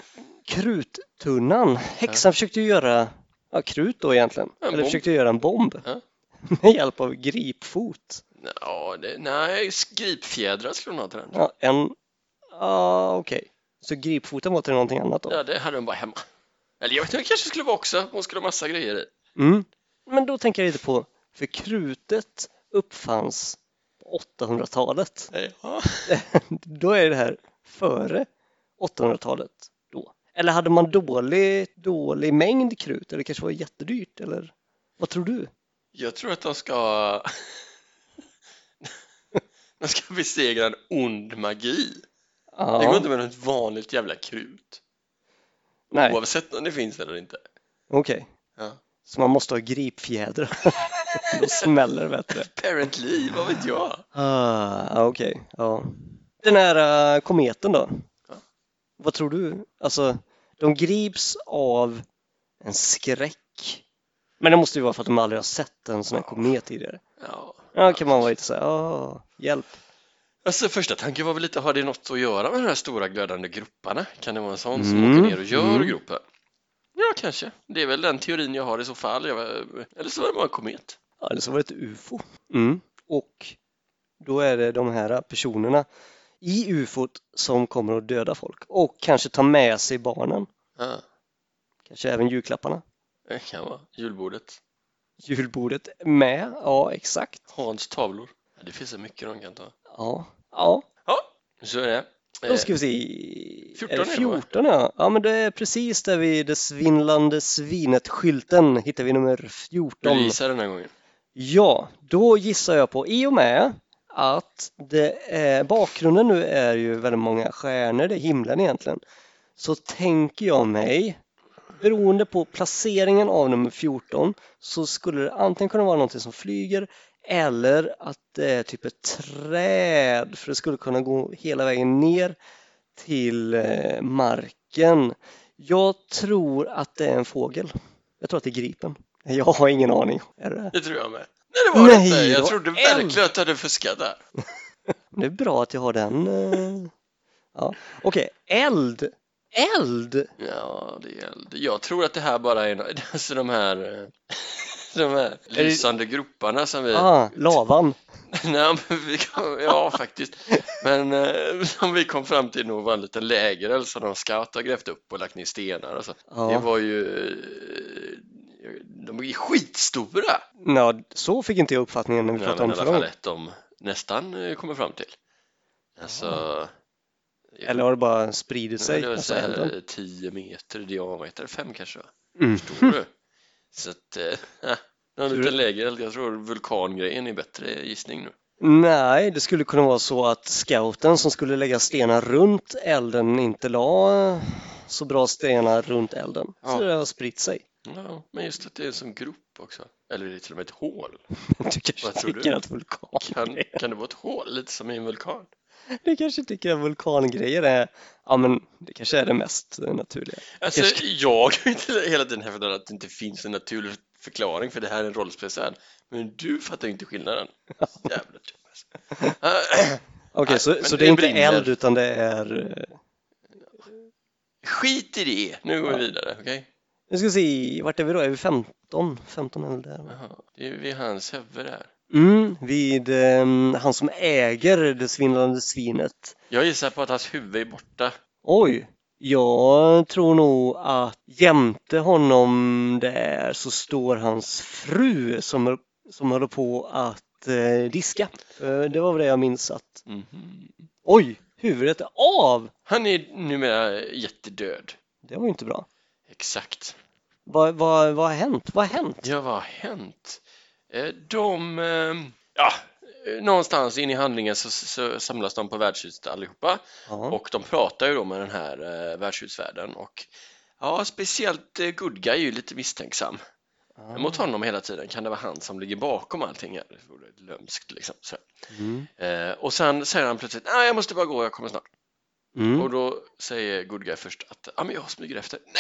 B: kruttunnan. Häxan försökte ju göra ja, krut då egentligen.
C: En
B: Eller
C: bomb.
B: försökte göra en bomb.
C: Ja.
B: Med hjälp av gripfot.
C: Ja, det, nej, gripfjädrar skulle hon ha till den.
B: Ja, en... Ja, okej. Så gripfoten var till någonting annat då?
C: Ja, det hade hon bara hemma. Eller jag vet inte, det kanske skulle vara också. Hon skulle ha massa grejer i.
B: Mm. Men då tänker jag lite på, för krutet uppfanns på 800-talet.
C: Ja.
B: då är det här före 800-talet då. Eller hade man dålig, dålig mängd krut eller kanske var det jättedyrt eller vad tror du?
C: Jag tror att de ska... De ska besegra en ond magi. Det går
B: Ja,
C: inte med något vanligt jävla krut.
B: nej,
C: Oavsett om det finns eller inte.
B: okej.
C: Ja.
B: Så man måste ha gripfjädrar. då smäller det bättre.
C: Apparently, vad vet jag?
B: Ah, okej, ja. Den här eh, kometen då?
C: Ja.
B: Vad tror du? Alltså, de grips av en skräck. Men det måste ju vara för att de aldrig har sett en sån här komet tidigare.
C: Ja.
B: Ja, kan man vara lite så här, ah, hjälp.
C: Alltså första tanken var väl lite, har det något att göra med de här stora glödande groparna? Kan det vara en sån som
B: Mm,
C: åker ner och gör
B: mm.
C: gropen? Ja, kanske. Det är väl den teorin jag har i så fall. Jag, eller så var det bara en komet.
B: Ja, eller så var det ett UFO. Mm. Och då är det de här personerna i UFOt som kommer att döda folk och kanske ta med sig barnen,
C: Ja,
B: kanske även julklapparna.
C: det kan vara. Julbordet.
B: Julbordet med, ja exakt.
C: Hans tavlor. Ja, det finns så mycket de kan ta.
B: Ja, ja.
C: Ja, så är det.
B: då ska vi se.
C: 14
B: Eh, är det
C: är det,
B: 14 ja. Ja, men det är precis där vid det svindlande svinet-skylten hittar vi nummer
C: Eh,
B: 14.
C: vi gissar den här gången.
B: Ja, då gissar jag på i och med att det är, bakgrunden nu är ju väldigt många stjärnor, det är himlen egentligen, så tänker jag mig, beroende på placeringen av nummer 14, så skulle det antingen kunna vara någonting som flyger eller att det är typ ett träd, för det skulle kunna gå hela vägen ner till eh, marken. Jag tror att det är en fågel. Jag tror att det är gripen. Jag har ingen aning. Är det det?
C: Det tror jag med. Nej, det var
B: Nej,
C: det inte.
B: det
C: Jag
B: var
C: trodde
B: en.
C: verkligen att du hade fuskat där.
B: Det är bra att jag har den. eh, Ja. Okej, eld. Eld!
C: Ja, det gällde. Jag tror att det här bara är no- alltså de här eh, de här lysande groparna som vi...
B: Ah, lavan.
C: Nej, men vi kom, ja, faktiskt. Men eh, som vi kom fram till nog var en liten lägereld som de scout har grävt upp och lagt ner stenar och så.
B: Ja.
C: Det var ju... eh, De var ju skitstora!
B: Nå, så fick inte jag uppfattningen när vi
C: Nej,
B: pratade om
C: men
B: det
C: i alla
B: förra
C: fall
B: gången.
C: ett de nästan eh, kommer fram till. Alltså, ett.
B: Eller har det bara spridit
C: nej,
B: sig?
C: det var
B: Alltså,
C: så
B: elden?
C: här 10 meter i diameter, 5 kanske va?
B: Mm.
C: Förstår du? Så att, eh, någon
B: Tur.
C: liten lägereld, jag tror vulkangrejen är bättre gissning nu.
B: Nej, det skulle kunna vara så att scouten som skulle lägga stenar runt elden inte la eh, så bra stenar runt elden.
C: Ja.
B: Så det har spritt sig.
C: Ja, men just att det är en sån grop också. Eller det är till och med ett hål.
B: Du kanske
C: Vad tror du?
B: tycker att vulkan
C: Kan, kan det vara ett hål, lite som i en vulkan?
B: Du kanske tycker att vulkangrejer är, ja men det kanske är det mest eh, naturliga.
C: Alltså,
B: Jag
C: jag har inte hela tiden hävdat att det inte finns en naturlig förklaring för det här är en rollspelsvärld. Men du fattar ju inte skillnaden. Jävla dum alltså. Ah,
B: Okej,
C: Nej,
B: så,
C: men
B: så
C: det
B: det är inte
C: brinner.
B: eld utan det är, eh,
C: Skit i det! Nu går vi vidare, okej?
B: nu ska vi se, vart är vi då? Är vi 15? 15 eller där?
C: Jaha, Det är vid hans huvud där.
B: Mm, vid eh, han som äger det svindlande svinet.
C: Jag gissar på att hans huvud är borta.
B: Oj, jag tror nog att jämte honom där så står hans fru som, som håller på att eh, diska. Eh, det var väl det jag minns att,
C: Mhm.
B: oj, huvudet är av!
C: Han är numera jättedöd.
B: Det var ju inte bra.
C: Exakt.
B: Vad, vad, vad har hänt? Vad har hänt?
C: Ja, vad har hänt? Eh, De, eh, ja, eh, någonstans in i handlingen så, så samlas de på värdshuset allihopa
B: Ja.
C: och de pratar ju då med den här eh, värdshusvärden och ja, speciellt eh, Good Guy är ju lite misstänksam mot honom hela tiden. Kan det vara han som ligger bakom allting? här? Det vore lömskt liksom. Så.
B: Mm.
C: Eh, och sen säger han plötsligt, nej, jag måste bara gå, jag kommer snart.
B: Mm.
C: Och då säger Good Guy först att ah, men jag smyger efter. Nej!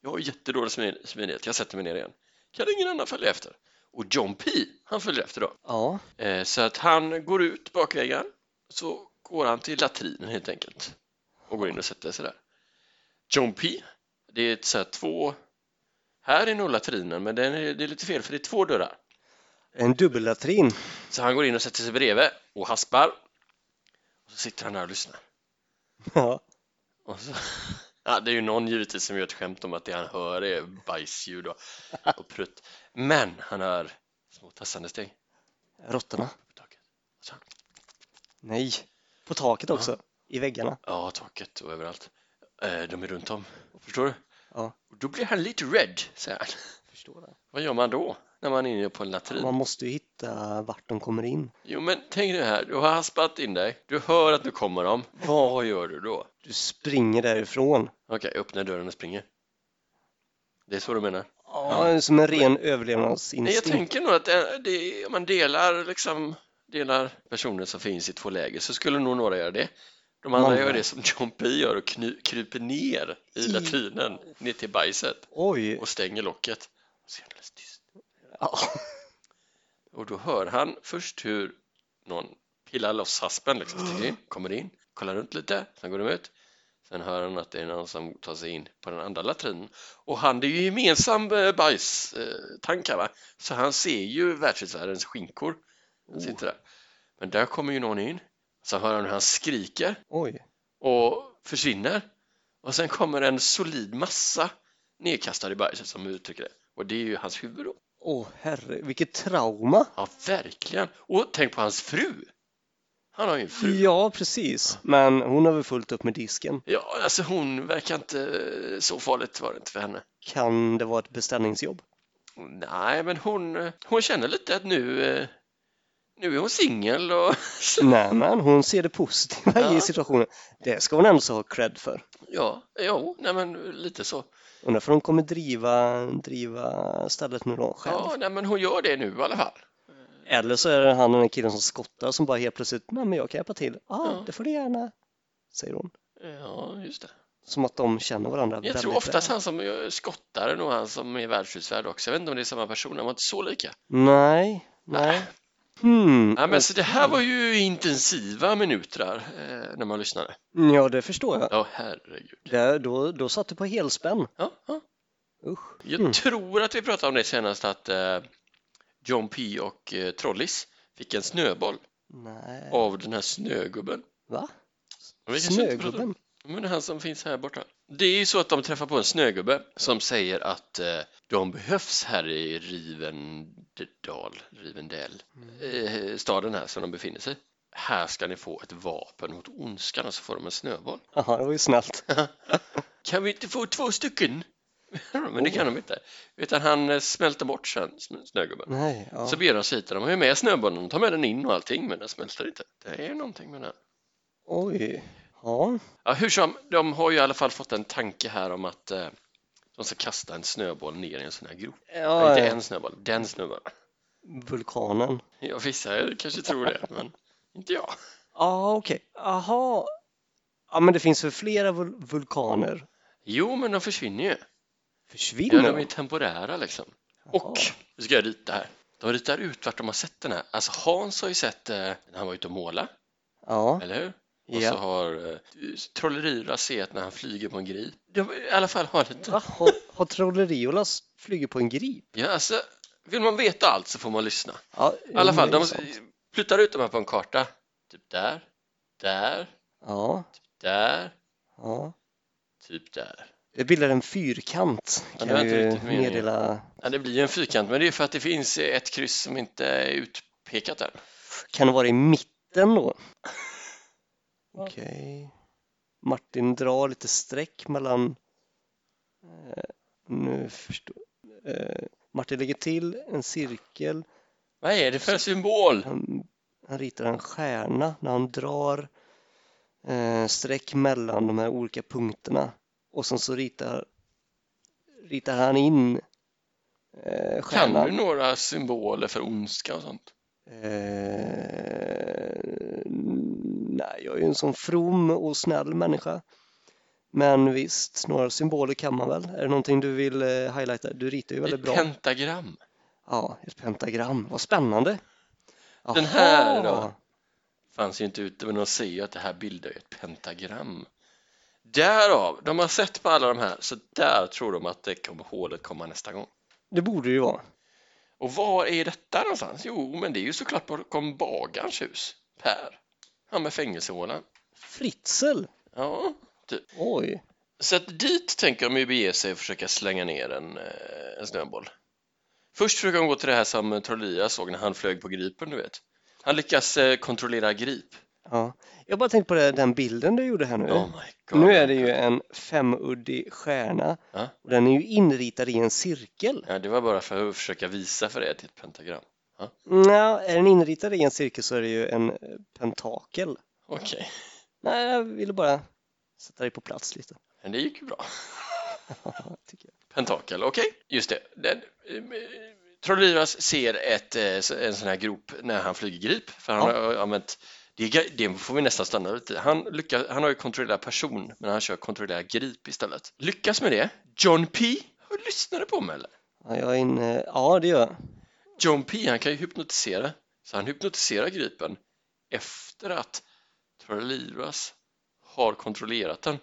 C: Jag har jättedålig smi- smidighet, jag sätter mig ner igen. Kan ingen annan följa efter? Och John P, han följer efter då.
B: Ja.
C: Eh, så att han går ut bakvägen, så går han till latrinen helt enkelt och går in och sätter sig där. John P, det är ett, så här, två... Här är nog latrinen, men den är, det är lite fel för det är två dörrar.
B: En dubbellatrin.
C: Så han går in och sätter sig bredvid och haspar. Och så sitter han där och lyssnar.
B: Ja.
C: Och så, ja, det är ju någon givetvis som gör ett skämt om att det han hör är bajsljud och, och prutt. Men han hör små tassande steg.
B: Råttorna.
C: på taket.
B: Nej. På taket också. I väggarna.
C: Ja, taket och överallt. Eh, de är runt om. Förstår du?
B: Ja.
C: Och då blir han lite rädd, säger han.
B: Förstår det.
C: Vad gör man då när man är inne på en latrin?
B: Man måste ju hitta vart de kommer in.
C: Jo, men tänk dig här. Du har haspat in dig. Du hör att nu kommer de. Vad gör du då?
B: Du springer därifrån.
C: Okej, öppna dörren och springer. Det är så du menar?
B: Ja. Som en ren
C: Nej, jag
B: överlevnadsinstinkt.
C: tänker nog att det, det, om man delar, liksom, delar personer som finns i två läger så skulle nog några göra det. De andra
B: Många.
C: gör det som John P gör och kny, kryper ner i
B: I-
C: latrinen, ner till bajset
B: Oj.
C: och stänger locket. Och så är det alldeles tyst.
B: Ja.
C: Och då hör han först hur någon pillar loss haspen, liksom, sticker in, kommer in, kollar runt lite, sen går de ut. Sen hör han att det är någon som tar sig in på den andra latrinen. Och han, det är ju gemensam eh, bajstank här va? Så han ser ju världshusvärldens skinkor. Han sitter där. Men där kommer ju någon in. Så hör han hur han skriker
B: Oj.
C: och försvinner. Och sen kommer en solid massa nedkastad i bajset som uttrycker det. Och det är ju hans huvud då.
B: Åh herre, vilket trauma.
C: Ja, verkligen. Och tänk på hans fru. Han har ju en fru.
B: Ja, precis. Men hon har väl fullt upp med disken.
C: Ja, alltså hon verkar inte så farligt var det inte för henne.
B: Kan det vara ett beställningsjobb?
C: Nej, men hon, hon känner lite att nu, eh, nu är hon singel och
B: Nej, men hon ser det positiva
C: Ja.
B: i situationen. Det ska hon ändå så ha cred för.
C: ja, jo, nej men lite så.
B: Undrar för hon kommer driva, driva stället nu då själv.
C: Ja, nej men hon gör det nu i alla fall.
B: Eller så är det han den här killen som skottar som bara helt plötsligt, nej men jag kan hjälpa till. Ah,
C: Ja.
B: det får du gärna, säger hon.
C: Ja, just det.
B: Som att de känner varandra
C: Jag tror
B: väldigt
C: oftast
B: väl.
C: han som är skottaren och han som är värdshusvärd också. Jag vet inte om det är samma person, de var inte så lika.
B: Nej, nej. Hmm.
C: Nej, men så det här var ju intensiva minuter där, eh, när man lyssnade.
B: Ja, det förstår jag.
C: Ja, herregud.
B: Där, då, då satt du på helspänn.
C: Ja, ja.
B: Usch.
C: Jag
B: Mm.
C: tror att vi pratade om det senast att eh, John P och eh, Trollis fick en snöboll
B: Nej.
C: av den här snögubben.
B: Va?
C: Men vi kanske inte pratar om-
B: Snögubben?
C: Men han som finns här borta. Det är ju så att de träffar på en snögubbe som säger att eh, de behövs här i Rivendal, Rivendell, eh, staden här som de befinner sig. Här ska ni få ett vapen mot ondskan och så får de en snöboll.
B: Jaha, det var ju snällt.
C: Kan vi inte få två stycken? Men det kan de inte. Utan han eh, smälter bort sen, sn- snögubben.
B: Nej, ja.
C: Så ber de sig hit och de har ju med snöbollen, de tar med den in och allting men den smälter inte. Det är någonting med den.
B: Oj. Ja.
C: Ja, hur som, de har ju i alla fall fått en tanke här om att eh, de ska kasta en snöboll ner i en sån här grop. Nej,
B: ja
C: inte
B: ja.
C: en snöboll, den snöbollen.
B: vulkanen.
C: Ja, vissa er kanske tror det, men inte jag.
B: Ja, okej. Jaha. Ja, men det finns väl flera vul vulkaner?
C: Jo, men de försvinner ju. Ja,
B: Försvinner
C: de är
B: de?
C: temporära liksom. Och, nu ska jag rita här. De ritar ut vart de har sett den här. Alltså Hans har ju sett, eh, när han var ute och måla,
B: Ja.
C: eller hur? Och så
B: ja.
C: har eh, Trollerira sett när han flyger på en grip. De i alla fall har lite
B: Va? Har, har Trolleriolas flugit på en grip?
C: Ja, alltså, vill man veta allt så får man lyssna.
B: Ja, liksom-
C: I alla fall,
B: det är
C: de
B: sant.
C: flyttar ut de här på en karta. Typ där, där,
B: Ja,
C: där,
B: ja.
C: typ där.
B: Det bildar en fyrkant
C: det
B: kan
C: var
B: jag
C: inte
B: ju
C: riktigt meningen.
B: meddela.
C: Ja, det blir ju en fyrkant, men det är för att det finns ett kryss som inte är utpekat där.
B: Kan det vara i mitten då? Okej. Martin drar lite streck mellan... eh, nu förstår... eh, Martin lägger till en cirkel.
C: Vad är det för symbol?
B: Han, han ritar en stjärna när han drar eh, streck mellan de här olika punkterna. Och sen så ritar, ritar han in eh,
C: Kan
B: stjärnan.
C: du några symboler för ondska och sånt?
B: Eh, nej, jag är ju en sån from och snäll människa. Men visst, några symboler kan man väl? Är det någonting du vill eh, highlighta? Du ritar ju väldigt
C: Ett
B: bra.
C: pentagram.
B: Ja, ett pentagram. Vad spännande!
C: Den
B: Jaha.
C: här då? Fanns ju inte ute, men de ser ju att det här bildar ju ett pentagram. Därav, de har sett på alla de här, så där tror de att det kommer, hålet kommer nästa gång.
B: Det borde ju vara.
C: Och var är detta någonstans? Jo, men det är ju såklart bakom bagarens hus. Per. Han med fängelsehålan.
B: Fritzl!
C: Ja, typ.
B: Oj!
C: Så att dit tänker de ju bege sig och försöka slänga ner en, eh, en snöboll. Först försöker de gå till det här som Trollia såg när han flög på Gripen, du vet. Han lyckas eh, kontrollera Grip.
B: Ja. Jag bara tänkte på det, den bilden du gjorde här nu.
C: Oh my god.
B: Mm. nu är det ju en femuddig stjärna
C: Ja.
B: och den är ju inritad i en cirkel.
C: Ja, det var bara för att försöka visa för er till ett pentagram.
B: Nja, är den inritad i en cirkel så är det ju en eh, pentakel.
C: Okej,
B: Nej, jag ville bara sätta dig på plats lite.
C: men det gick ju bra.
B: Tycker jag.
C: Pentakel, okej, just det. Den, eh, Trollivas ser ett, eh, så- en sån här grop när han flyger grip, för han
B: Ja.
C: har eh, använt, det, är ga- det får vi nästan stanna lite. Han, lyckas, han har ju kontrollerat person, men han kör kontrollera grip istället. Lyckas med det. John P. Lyssnar du på mig eller?
B: Ja, jag är inne. Ja, det gör jag.
C: John P. Han kan ju hypnotisera, så han hypnotiserar gripen efter att Trollivas har kontrollerat den.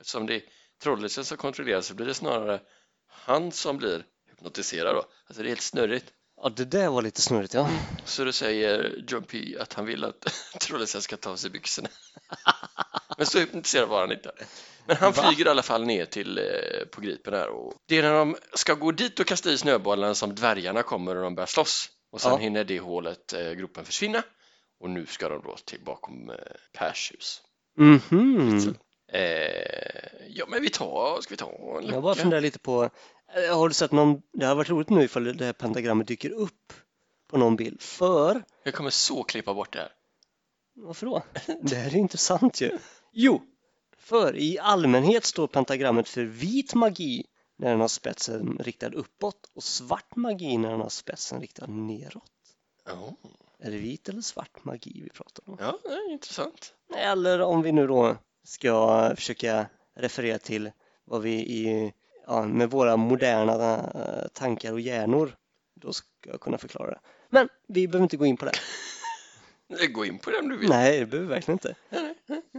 C: Eftersom det är trollisen som kontrollerar så blir det snarare han som blir hypnotiserad då. Alltså det är helt snurrigt.
B: Ja, det där var lite snurrigt ja.
C: Så då säger John P att han vill att Trollhättan ska ta av sig byxorna. Men så hypnotiserad var han inte. Men han
B: Va?
C: flyger i alla fall ner till eh, på Gripen här och det är när de ska gå dit och kasta i snöbollen som dvärgarna kommer och de börjar slåss och sen
B: Ja.
C: hinner det hålet, eh, gropen försvinna och nu ska de då till bakom eh, Pers hus.
B: Mhm.
C: Eh, ja men vi tar, ska vi ta en lucka?
B: Jag bara funderar lite på, eh, har du sett någon, det hade varit roligt nu ifall det här pentagrammet dyker upp på någon bild. För,
C: Jag kommer så klippa bort det här.
B: varför då? Det här är intressant ju. Jo, för i allmänhet står pentagrammet för vit magi när den har spetsen riktad uppåt och svart magi när den har spetsen riktad neråt.
C: Ja,
B: Är det vit eller svart magi vi pratar om?
C: ja det är intressant.
B: Eller om vi nu då ska försöka referera till vad vi i, ja, med våra moderna eh, tankar och hjärnor, då ska jag kunna förklara det. Men vi behöver inte gå in på det.
C: Gå in på det om du vill.
B: Nej, det behöver vi verkligen inte.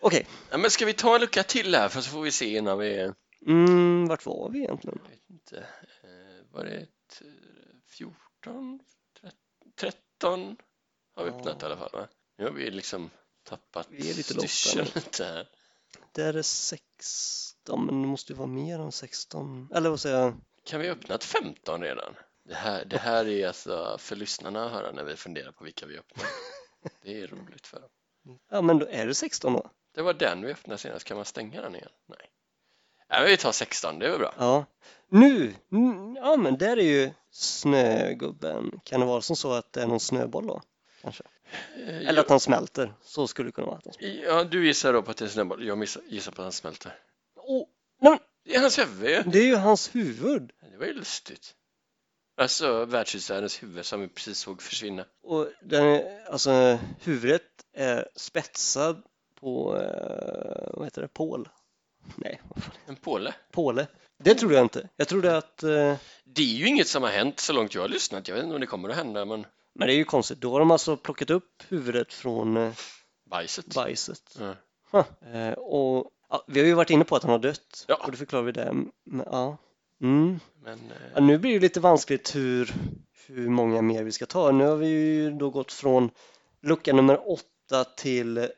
B: Okej,
C: Ja, men ska vi ta en lucka till här för så får vi se innan vi... eh,
B: mm, vart var vi egentligen?
C: Jag vet inte. eh, Var det ett, eh, 14? 13? 19 har vi öppnat
B: Ja.
C: i alla fall va? Nu har vi liksom tappat
B: Vi är lite
C: styrseln
B: lottade
C: lite här.
B: Det är 16, men det måste ju vara mer än 16. Eller vad säger jag?
C: Kan vi ha öppnat 15 redan? Det här, det här är alltså för lyssnarna att höra när vi funderar på vilka vi öppnar. Det är roligt för dem.
B: Ja, men då är det 16 då.
C: Det var den vi öppnade senast, kan man stänga den igen? Nej. Nej, men vi tar 16, det är väl bra.
B: Ja. Nu! Mm, Ja, men där är ju snögubben. Kan det vara som så att det är någon snöboll då?
C: Eh,
B: Eller att han smälter. Så skulle det kunna vara. att han smälter.
C: Ja, du gissar då på att det är en snöboll. Jag missar- gissar på att han smälter.
B: Åh, nej,
C: Det är hans huvud!
B: men det är ju hans huvud!
C: Det var ju lustigt. Alltså världshusvärldens huvud som vi precis såg försvinna.
B: Och den är, alltså, huvudet är spetsad på, eh, vad heter det, pål? Nej, vad fan,
C: En påle.
B: påle. Det trodde jag inte. Jag trodde att, eh,
C: Det är ju inget som har hänt så långt jag har lyssnat. Jag vet inte om det kommer att hända, men
B: men det är ju konstigt. Då har de alltså plockat upp huvudet från eh,
C: bajset.
B: bajset.
C: Ja.
B: Huh. Eh, och, ja, vi har ju varit inne på att han har dött
C: Ja.
B: och det förklarar vi det. Men, ja. Mm.
C: Men eh,
B: Ja, nu blir det lite vanskligt hur, hur många mer vi ska ta. Nu har vi ju då gått från lucka nummer 8 till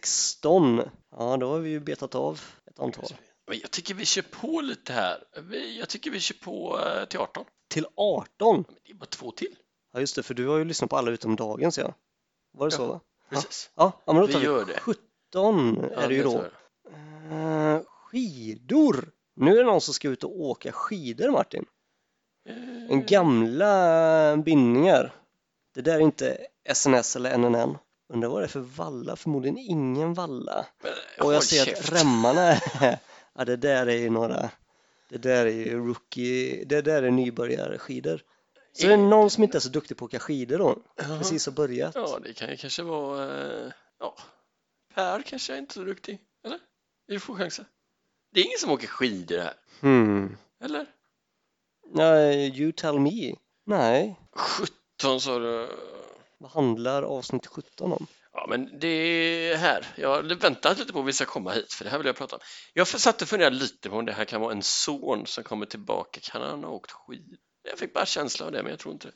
B: 16. Ja, då har vi ju betat av ett antal.
C: men jag tycker vi kör på lite här. Vi- Jag tycker vi kör på eh, till 18.
B: Till 18!
C: Men det är bara två till.
B: Ja, just det, för du har ju lyssnat på alla utom dagens ja. Var det
C: Ja.
B: så va?
C: Precis.
B: Ja, ja men då
C: Vi
B: tar vi,
C: gör det.
B: 17 är det ju
C: Ja,
B: då.
C: tror jag.
B: Eh, skidor! Nu är det någon som ska ut och åka skidor Martin.
C: Mm.
B: En gamla bindningar. Det där är inte SNS eller NNN. Undrar vad det är för valla? Förmodligen ingen valla.
C: Men,
B: Och
C: Eh, håll
B: jag ser att
C: käft.
B: remmarna är... Ja, det där är ju några... Det där är ju rookie... Det där är nybörjarskidor. Så det är någon som inte är så duktig på att åka skidor då.
C: Ja.
B: Precis har börjat.
C: Ja, det kan ju kanske vara... eh, Ja, Per kanske är inte så duktig, eller? Vi får chansa. Det är ingen som åker skidor här,
B: Hmm.
C: eller?
B: Nej, you tell me. Nej.
C: 17 sa du...
B: Vad handlar avsnitt 17 om?
C: Ja, men det är här. Jag hade väntat lite på att vi ska komma hit, för det här vill jag prata om. Jag satt och funderade lite på om det här kan vara en son som kommer tillbaka. Kan han ha åkt skidor? Jag fick bara känsla av det, men jag tror inte det.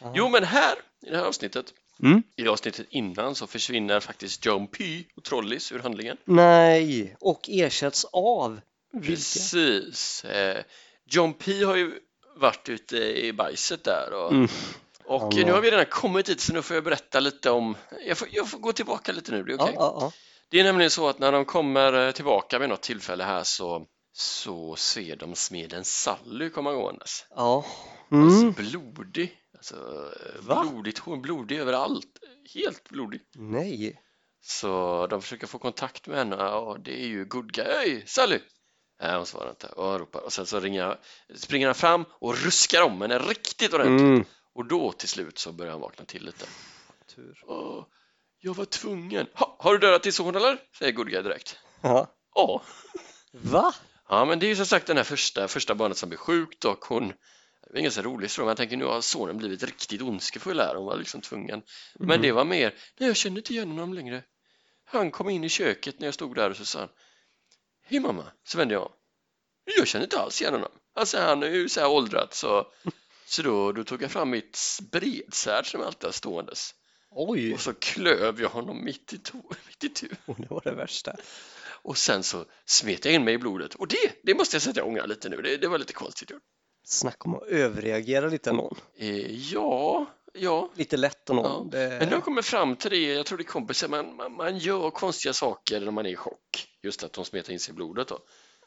B: Ja.
C: Jo, men här, i det här avsnittet,
B: Mm.
C: i det avsnittet innan så försvinner faktiskt John P och Trollis ur handlingen.
B: Nej, och ersätts av vilka?
C: Precis. Eh, John P har ju varit ute i bajset där och,
B: Mm.
C: och
B: Ja.
C: nu har vi redan kommit dit så nu får jag berätta lite om, jag får, jag får gå tillbaka lite nu, det är okej?
B: Ja, ja,
C: Det är nämligen så att när de kommer eh, tillbaka vid något tillfälle här så så ser de smeden Sally komma gåendes.
B: ja. ja. Mm.
C: Alltså blodig, alltså eh,
B: Va?
C: blodigt hår, blodig överallt, helt blodig.
B: Nej.
C: Så de försöker få kontakt med henne och det är ju good guy, Hej, Sally! Nej, hon svarar inte och han ropar och sen så ringer, springer han fram och ruskar om henne riktigt ordentligt
B: Mm.
C: och då till slut så börjar han vakna till lite.
B: Tur.
C: Åh, jag var tvungen. Ha, har du dödat din son eller? Säger good guy direkt.
B: Ja.
C: Ja.
B: Va?
C: Ja, men det är ju som sagt den här första, första barnet som blir sjukt och hon det var ingen så rolig historia, men jag tänker nu har sonen blivit riktigt ondskefull här, hon var liksom tvungen. Men
B: Mm.
C: det var mer, nej jag kände inte igen honom längre. Han kom in i köket när jag stod där och så sa han, hej mamma, så vände jag om. Jag kände inte alls igen honom. Alltså han är ju så här åldrad så, så då, då tog jag fram mitt bredsvärd som alltid har ståendes
B: Oj,
C: och så klöv jag honom mitt i, to- mitt i tu.
B: det var det värsta.
C: Och sen så smet jag in mig i blodet och det, det måste jag säga att jag ångrar lite nu, det, det var lite konstigt gjort.
B: Snacka om att överreagera lite någon.
C: Eh, ja, ja.
B: Lite lätt och någon.
C: Ja. Men nu har jag kommit fram till det, jag tror det är kompisar, man, man, man gör konstiga saker när man är i chock. Just att de smetar in sig i blodet då.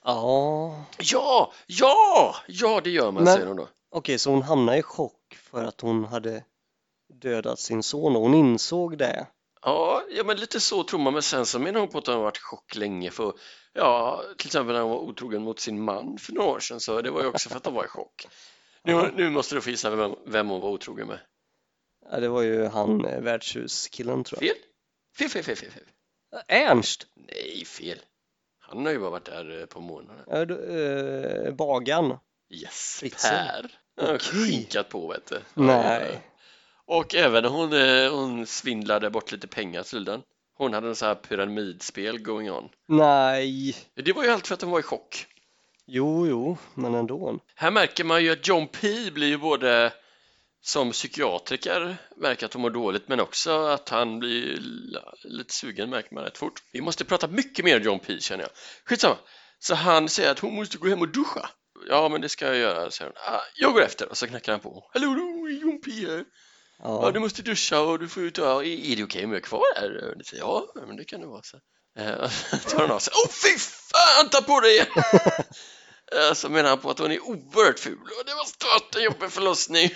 B: Ja.
C: Ja, ja, ja det gör man
B: Men-
C: säger de då.
B: Okej, så hon hamnade i chock för att hon hade dödat sin son och hon insåg det.
C: Ja, ja, men lite så tror man, men sen så menar hon på att hon har varit i chock länge för, ja, till exempel när hon var otrogen mot sin man för några år sedan, så det var ju också för att hon var i chock. Nu, nu måste du få gissa vem, vem hon var otrogen med.
B: Ja, det var ju han eh, värdshuskillen tror jag.
C: Fel? Fel, fel, fel, fel, fel.
B: Ernst!
C: Nej, fel. Han har ju bara varit där eh, på månaden.
B: Ja, då, eh, bagan.
C: Yes,
B: Fritzl.
C: Per. Han har
B: Okej.
C: skinkat på vet du. Ja, ja, ja.
B: Nej.
C: Och även hon, eh, hon svindlade bort lite pengar tydligen. Hon hade en sån här pyramidspel going on.
B: Nej.
C: Det var ju allt för att hon var i chock.
B: Jo, jo, men ändå.
C: Här märker man ju att John P blir ju både som psykiatriker verkar att hon mår dåligt men också att han blir l- lite sugen märker man rätt fort. Vi måste prata mycket mer John P känner jag. Skitsamma. Så han säger att hon måste gå hem och duscha. Ja men det ska jag göra, säger hon. Ah, jag går efter och så knackar han på. Hallå då, John P här. Ja,
B: Ja.
C: du måste duscha och du får ut och, ja, är är det okej om jag är kvar här? Och det säger, ja, men det kan det vara. Så. Eh, tar han av sig. Åh fy fan, ta på dig! Eh, Så menar han på att hon är oerhört ful och det måste ha varit en jobbig förlossning.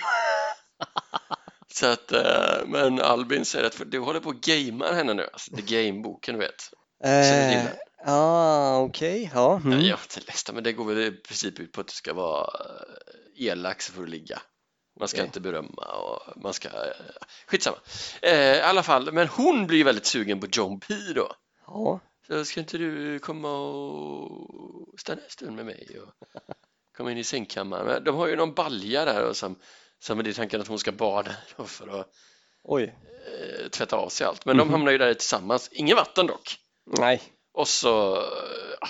C: Så att, eh, men Albin säger att för du håller på och gamear henne nu, alltså det är gameboken du vet. Känner du
B: Eh,
C: till den?
B: ja, okej. Ja.
C: Mm.
B: Mm.
C: Jag har inte läst den, men det går väl i princip ut på att du ska vara eh, elak så får du ligga. Man ska
B: Okej.
C: inte berömma och man ska... eh, Skitsamma. Eh, I alla fall, men hon blir ju väldigt sugen på John P då.
B: Ja.
C: Så ska inte du komma och stanna en stund med mig och komma in i sängkammaren? De har ju någon balja där och som, som är det tanken att hon ska bada då för att
B: Oj.
C: eh, tvätta av sig allt. Men
B: Mhm.
C: de hamnar ju där tillsammans. Inget vatten dock.
B: Nej.
C: Och så ja,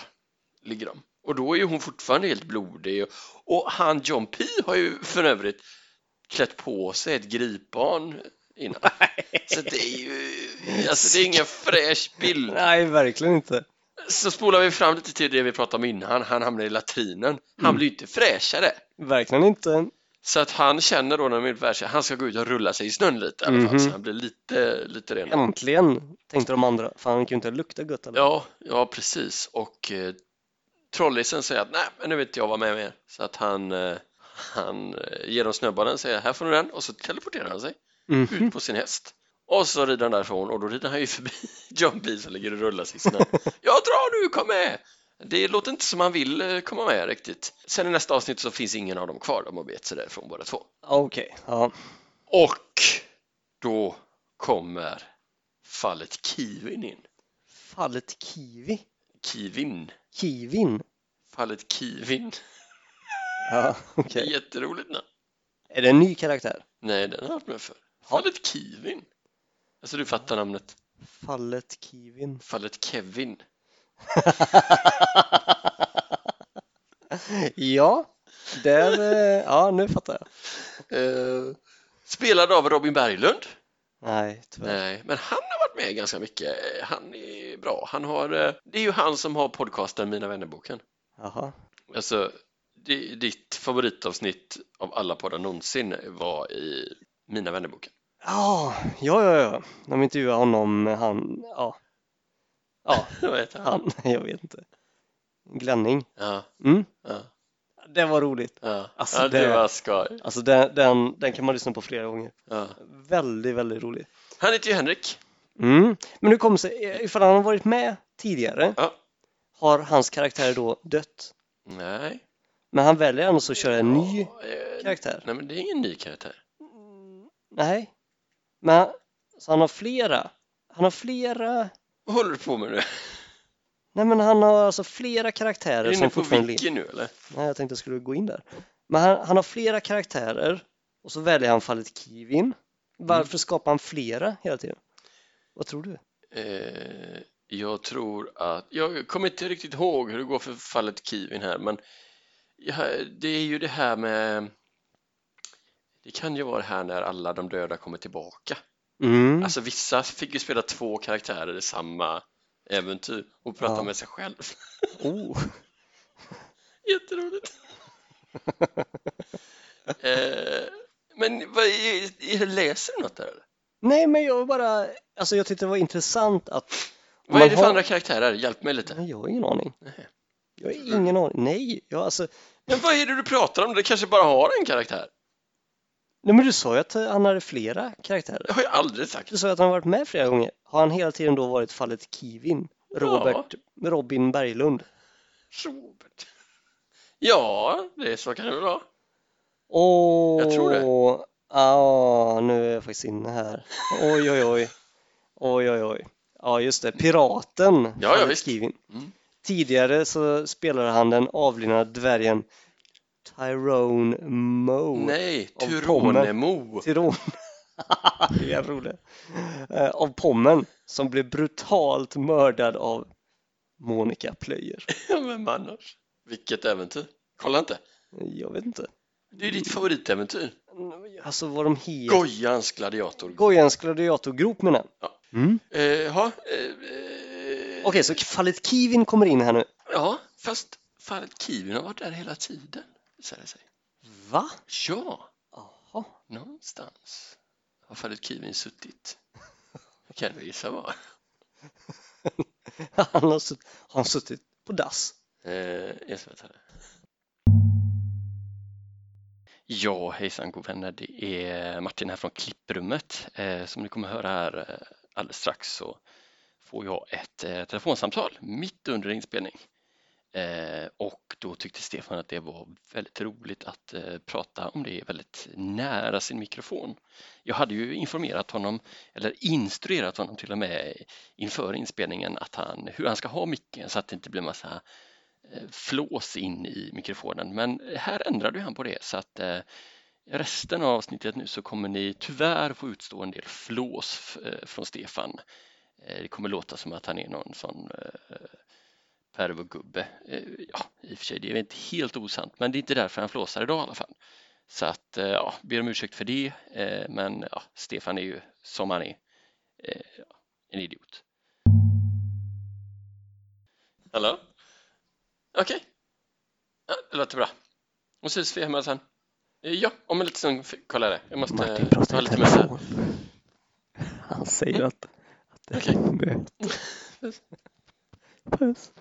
C: ligger de. Och då är ju hon fortfarande helt blodig. Och, och han John P har ju för övrigt klätt på sig ett gripbarn innan. Så det är ju alltså det är ingen fräsch bild.
B: Nej, verkligen inte.
C: Så spolar vi fram lite till det vi pratade om innan. Han hamnar i latrinen. Han blir ju inte fräschare.
B: Verkligen inte.
C: Så att han känner då när de är fräscha, han ska gå ut och rulla sig i snön lite i alla fall.
B: Mhm.
C: Så han blir lite, lite renare.
B: Äntligen, tänkte de andra. Fan, han kan ju inte lukta gött eller?
C: Ja, ja precis. Och eh, trollisen säger att nej, men nu vill inte jag vara med mer. Så att han, eh, han eh, ger dem snöbollen och säger här får ni den och så teleporterar han sig
B: Mhm.
C: ut på sin häst. Och så rider han därifrån och då rider han ju förbi John Bee som ligger och rullar sig i snön. Jag drar nu, kom med! Det låter inte som han vill eh, komma med riktigt. Sen i nästa avsnitt så finns ingen av dem kvar, de har begett sig därifrån båda två.
B: Okej, ja.
C: Och då kommer fallet Kivin in.
B: Fallet kiwi.
C: Kivin.
B: Kiwin.
C: Fallet Kivin.
B: Ja, okej.
C: Jätteroligt namn.
B: Är det en ny karaktär?
C: Nej, den har jag varit med för. Fallet Kivin. Alltså du fattar namnet.
B: Fallet kiwin.
C: Fallet Kevin.
B: ja, där, eh, ja nu fattar jag.
C: Eh, spelad av Robin Berglund.
B: Nej, tyvärr.
C: Nej, men han har varit med ganska mycket. Eh, Han är bra. Han har, eh, det är ju han som har podcasten Mina vännerboken.
B: Jaha.
C: Alltså, di- ditt favoritavsnitt av alla poddar någonsin var i Mina vännerboken.
B: Ja, ja, ja, ja. De intervjuar honom, eh, han, ja. Ja,
C: Vad heter han?
B: han, jag vet inte. Glänning.
C: Ja,
B: Mm.
C: ja,
B: Det var roligt.
C: ja.
B: Alltså,
C: ja det
B: det-
C: var skoj.
B: Alltså den, den, den kan man lyssna på flera gånger.
C: Ja.
B: Väldigt, väldigt rolig.
C: Han heter ju Henrik.
B: Mm. Men nu kommer det sig, ifall han har varit med tidigare,
C: Ja.
B: har hans karaktär då dött?
C: Nej.
B: Men han väljer ändå så att köra en ny
C: Ja, eh,
B: karaktär?
C: Nej, men det är ingen ny karaktär.
B: Nej. Men så han har flera? Han har flera?
C: Vad håller du på med nu?
B: Nej men han har alltså flera
C: Är
B: karaktärer
C: du inne
B: som
C: på
B: fortfarande lever.
C: wiki nu eller?
B: Nej, jag tänkte jag skulle gå in där. Men han, han har flera karaktärer och så väljer han fallet Kivin. Varför skapar han flera hela tiden? Vad tror du?
C: Eh, jag tror att, jag kommer inte riktigt ihåg hur det går för fallet Kivin här, men jag- det är ju det här med det kan ju vara det här när alla de döda kommer tillbaka.
B: Mm.
C: Alltså vissa fick ju spela två karaktärer i samma äventyr och prata
B: Ja.
C: med sig själv.
B: Oh.
C: Jätteroligt. eh, men vad, är, är, läser du något där eller?
B: Nej men jag bara, alltså jag tyckte det var intressant att
C: Vad är
B: man
C: det för
B: har-
C: andra karaktärer? Hjälp mig lite.
B: Nej, jag har ingen aning.
C: Nej.
B: Jag har ingen aning. Nej, jag alltså,
C: Men vad är det du pratar om? Det kanske bara har en karaktär?
B: nej men du sa ju att han hade flera karaktärer.
C: Det har jag aldrig sagt.
B: Du sa ju att han har varit med flera gånger. Har han hela tiden då varit fallet Kivin? Robert, Robin Berglund.
C: Robert. Ja, det är så kan det väl vara.
B: Åh,
C: Jag tror det.
B: ah, nu är jag faktiskt inne här. Oj, oj, oj. Oj, oj, oj. Ja, just det. Piraten.
C: ja,
B: fallet
C: visst.
B: Kivin.
C: Mm.
B: Tidigare så spelade han den avlidna dvärgen Tyrone Moe.
C: Nej,
B: Av
C: Tyronemo.
B: Tyrone. det är roligt. Eh, Av Pommen som blev brutalt mördad av Monica Plöjer.
C: Ja, men annars? Vilket äventyr. Kolla inte.
B: Jag vet inte.
C: Det är ju ditt favoritäventyr.
B: alltså vad de heter.
C: Gojans gladiator.
B: Gojans gladiatorgrop menar jag. Mm.
C: Eh, ja, eh, eh,
B: Okej, så fallet Kivin kommer in här nu.
C: ja, fast fallet Kivin har varit där hela tiden, visar det sig.
B: Va?
C: Ja,
B: Jaha.
C: någonstans har fallet Kivin suttit. Kan du gissa var?
B: Han har, sutt- har han suttit på dass.
C: Eh, jag ska ta det. Ja, hejsan god vänner. Det är Martin här från klipprummet. Eh, som ni kommer höra här eh, alldeles strax så får jag ett eh, telefonsamtal mitt under inspelning. Eh, och då tyckte Stefan att det var väldigt roligt att eh, prata om det väldigt nära sin mikrofon. Jag hade ju informerat honom, eller instruerat honom till och med inför inspelningen att han, hur han ska ha micken så att det inte blir massa eh, flås in i mikrofonen. Men här ändrade ju han på det så att eh, i resten av avsnittet nu så kommer ni tyvärr få utstå en del flås f- eh, från Stefan. Eh, Det kommer låta som att han är någon sån eh, pervogubbe. Eh, Ja, i och för sig, det är väl inte helt osant, men det är inte därför han flåsar idag i alla fall. Så att, eh, ja, ber om ursäkt för det, eh, men ja, Stefan är ju som han är, eh, ja, en idiot. Hallå? Okej. Ja, det låter bra. Och så ses vi hemma sen. Eh, Ja, om en liten stund f- kollar jag det. Jag måste
B: Martin
C: eh,
B: pratar
C: ta
B: i
C: lite med här.
B: telefon. Han säger att, att det
C: Okej.
B: är möte. Puss.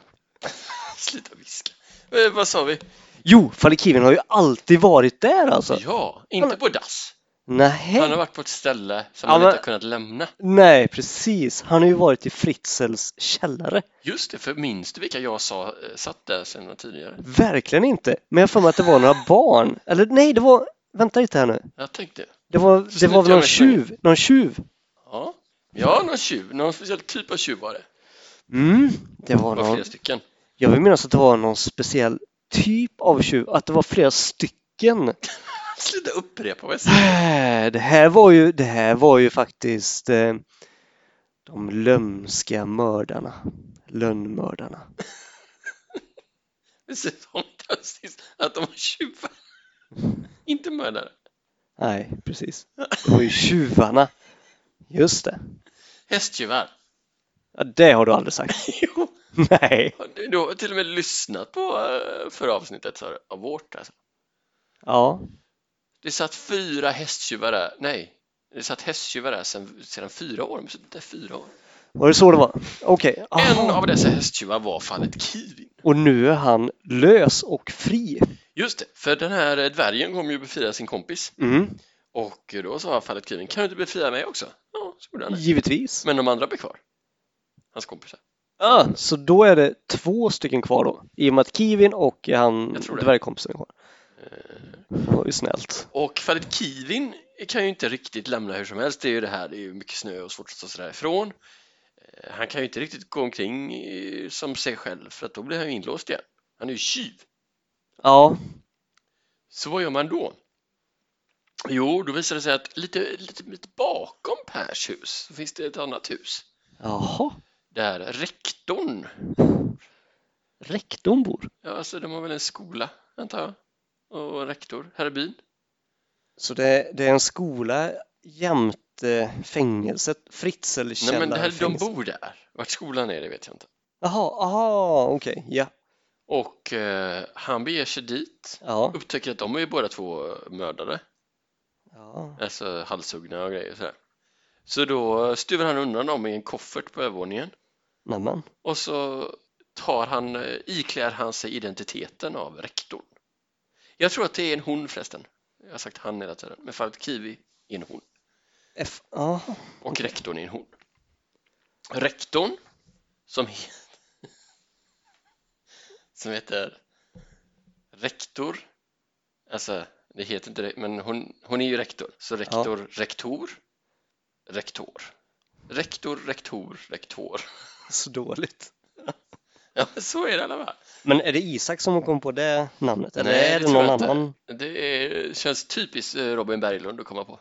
C: Sluta viska. Eh, vad sa vi?
B: Jo, fallet Kivin har ju alltid varit där alltså.
C: Ja, inte på dass. Han har
B: Nej.
C: varit på ett ställe som
B: Ja,
C: han
B: men-
C: inte har kunnat lämna.
B: Nej, precis. Han har ju varit i Fritzels källare.
C: Just det, för minns du vilka jag sa eh, satt där sen tidigare?
B: Verkligen inte. Men jag har för mig att det var några barn. Eller nej, det var... Vänta lite här nu.
C: Jag tänkte,
B: Det var, det
C: Slut
B: var väl någon
C: jävla tjuv.
B: tjuv? Någon tjuv?
C: ja. Ja, någon tjuv, någon speciell typ av tjuv var det.
B: Mm, det var
C: Det var
B: någon.
C: flera stycken.
B: Jag vill minnas att det var någon speciell typ av tjuv. Att det var flera stycken.
C: Sluta upprepa vad jag säger.
B: Äh, Det här var ju, det här var ju faktiskt eh, de lömska mördarna. Lönnmördarna.
C: Det ser som fantastiskt att de var tjuvar. Inte mördare.
B: Nej, precis. Det var ju tjuvarna. Just det.
C: Hästtjuvar.
B: Ja, det har du aldrig sagt.
C: Jo,
B: Nej.
C: du, du har till och med lyssnat på eh, förra avsnittet sa du, av vårt alltså.
B: Ja,
C: Det satt fyra hästtjuvar där, nej, det satt hästtjuvar där sedan, sedan fyra år, de suttit där fyra år.
B: var det så det var? Okej.
C: En
B: aha.
C: av dessa hästtjuvar var fallet Kivin.
B: Och nu är han lös och fri.
C: Just det, för den här eh, dvärgen kom ju att befria sin kompis
B: Mm,
C: och då sa fallet Kivin, kan du inte befria mig också? Ja, så gjorde han det.
B: givetvis.
C: Men de andra blev kvar, hans kompisar.
B: Ah, så då är det två stycken kvar då. I och med att Kivin och han
C: Jag tror det. Eh.
B: dvärgkompisen är kvar. Det var ju snällt.
C: Och fallet Kivin kan ju inte riktigt lämna hur som helst, det är ju det här, det är ju mycket snö och svårt att ta sig därifrån. Eh, Han kan ju inte riktigt gå omkring eh, som sig själv för att då blir han ju inlåst igen. Han är ju tjuv.
B: Ja,
C: Så vad gör man då? Jo, då visar det sig att lite, lite, lite bakom Pers hus så finns det ett annat hus
B: jaha.
C: där rektorn,
B: Rektorn bor.
C: ja, alltså de har väl en skola antar jag, och en rektor här i byn.
B: Så det, det är en skola jämte fängelset, Fritzl
C: Nej, men det här, de
B: källarfängelse.
C: bor där. Vart skolan är, det vet jag inte.
B: Jaha, aha, okej, ja.
C: Och eh, han beger sig dit,
B: Ja,
C: upptäcker att de är ju båda två mördare,
B: ja.
C: alltså halshuggna och grejer sådär. Så då stuvar han undan dem i en koffert på övervåningen
B: nämen.
C: och så tar han, eh, iklär han sig identiteten av rektorn. Jag tror att det är en hon förresten. Jag har sagt han hela tiden, men fallet Kiwi är en hon
B: F, ja.
C: och rektorn är en hon. Rektorn som heter, som heter rektor, alltså det heter inte det, men hon, hon är ju rektor, så rektor, rektor, rektor, rektor, rektor, rektor.
B: Så dåligt.
C: Ja, men så är det i alla fall.
B: Men är det Isak som har kommit på det namnet? Eller
C: Nej,
B: är
C: det
B: det
C: tror
B: någon
C: jag inte.
B: annan?
C: Det är, känns typiskt eh, Robin Berglund att komma på.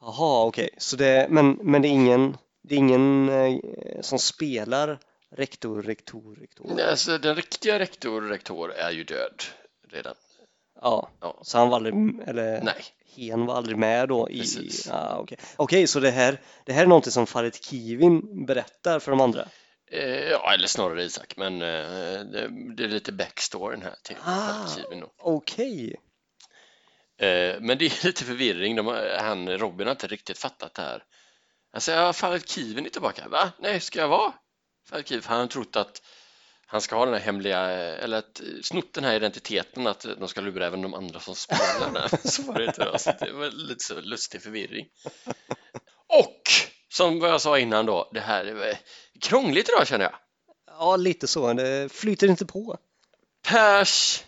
B: Jaha, okej. Så det, men, men det är ingen, det är ingen eh, som spelar rektor, rektor, rektor?
C: Alltså, den riktiga rektor, rektor är ju död redan.
B: Ja,
C: Ja.
B: så han var aldrig, eller
C: Nej.
B: hen var aldrig med då? i-
C: Precis.
B: Ah, Okej, Okej, så det här, det här är någonting som Farid Kivin berättar för de andra?
C: Eh, ja, eller snarare Isak, men eh, det, det är lite backstoryn här till
B: Ah.
C: Falkivin. då.
B: Okej,
C: Eh, men det är lite förvirring. De, har- han, Robin har inte riktigt fattat det här. Han säger, ja, Falkivin är tillbaka. Va? Nej, ska jag vara? Falkiv, han har trott att han ska ha den här hemliga, eh, eller att eh, snott den här identiteten, att eh, de ska lura även de andra som spelar där. Så var det inte då. Så det var lite så lustig förvirring. Och som vad jag sa innan då, det här är eh, krångligt idag känner jag.
B: ja lite så, det flyter inte på.
C: Pers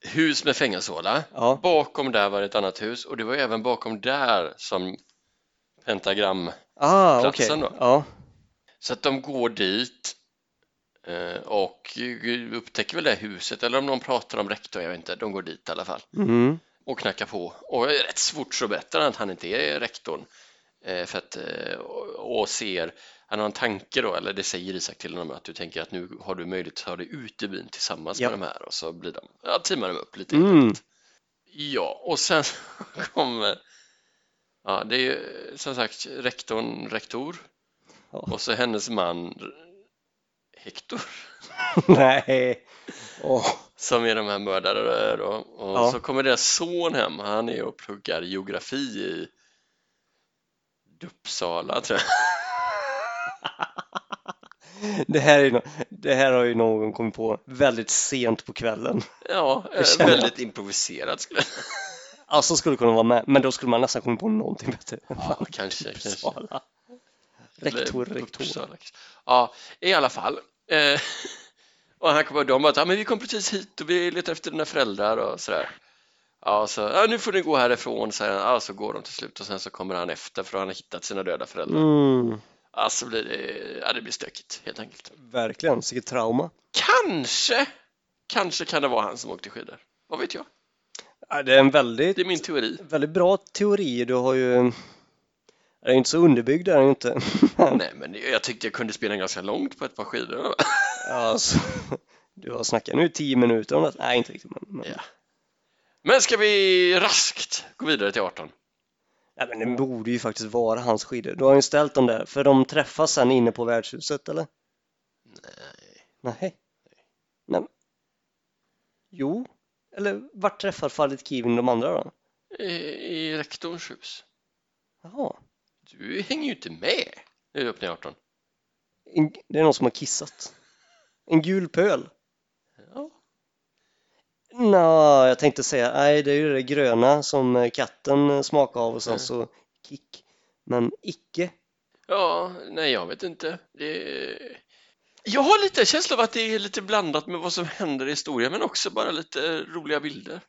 C: hus med fängelsehåla.
B: Ja.
C: Bakom där var det ett annat hus och det var ju även bakom där som pentagram.
B: Ah, okej.
C: Platsen då?
B: Ja.
C: Så att de går dit eh, och upptäcker väl det här huset eller om någon pratar om rektorn, jag vet inte. De går dit i alla fall
B: Mm.
C: och knackar på och det är rätt svårt så berättar han att han inte är rektorn eh, för att eh, och och ser han har en tanke då, eller det säger Isak till honom att du tänker att nu har du möjlighet att ta dig ut i byn tillsammans
B: Ja.
C: med de här och så blir de, ja, teamar de upp lite
B: Mm.
C: Ja, och sen kommer... Ja, det är ju som sagt rektorn, rektor
B: Ja.
C: och så hennes man Hector
B: Nej. Åh.
C: som är de här mördare då. Och
B: Ja.
C: så kommer deras son hem, han är och pluggar geografi i Uppsala tror jag.
B: Det, här är, no- det här har ju någon kommit på väldigt sent på kvällen.
C: Ja, eh,
B: känner jag.
C: väldigt improviserat skulle
B: Alltså skulle kunna vara med, men då skulle man nästan komma på någonting bättre.
C: Ja, kanske, kanske.
B: Uppsala. Rektor,
C: Eller
B: rektor.
C: Uppsala, kanske. Ja, i alla fall. Eh, och han kommer de bara att, ja, men vi kom precis hit och vi letar efter dina föräldrar och sådär. Ja, så, ja, nu får ni gå härifrån, säger han. Ja, så går de till slut och sen så kommer han efter för han har hittat sina döda föräldrar.
B: Mm.
C: Ja, så blir det, ja, det blir stökigt helt enkelt.
B: Verkligen, vilket trauma.
C: Kanske, kanske kan det vara han som åkte skidor. Vad vet jag?
B: Ja, Det är en väldigt,
C: Det är min teori.
B: väldigt bra teori. Du har ju... Den är ju inte så underbyggd, är den ju inte. Men,
C: Nej, men jag tyckte jag kunde spela ganska långt på ett par skidor.
B: alltså, du har snackat nu i tio minuter om det. Nej, inte riktigt. Men, men,
C: Ja. Men ska vi raskt gå vidare till 18?
B: Nej, men det borde ju faktiskt vara hans skidor. Du har ju ställt dem där, för de träffas sen inne på värdshuset, eller? Nej. Nej. Nej. men- Jo, eller vart träffar Farid Kivin de andra då?
C: I, i rektorns hus.
B: Jaha,
C: Du hänger ju inte med när du öppnar 18.
B: en, det är någon som har kissat. En gul pöl.
C: Ja.
B: Nå, jag tänkte säga, nej det är ju det gröna som eh, katten eh, smakar av och sen
C: Mm.
B: så kick. Men icke.
C: ja, nej jag vet inte. Det... Jag har lite känsla av att det är lite blandat med vad som händer i historien men också bara lite roliga bilder.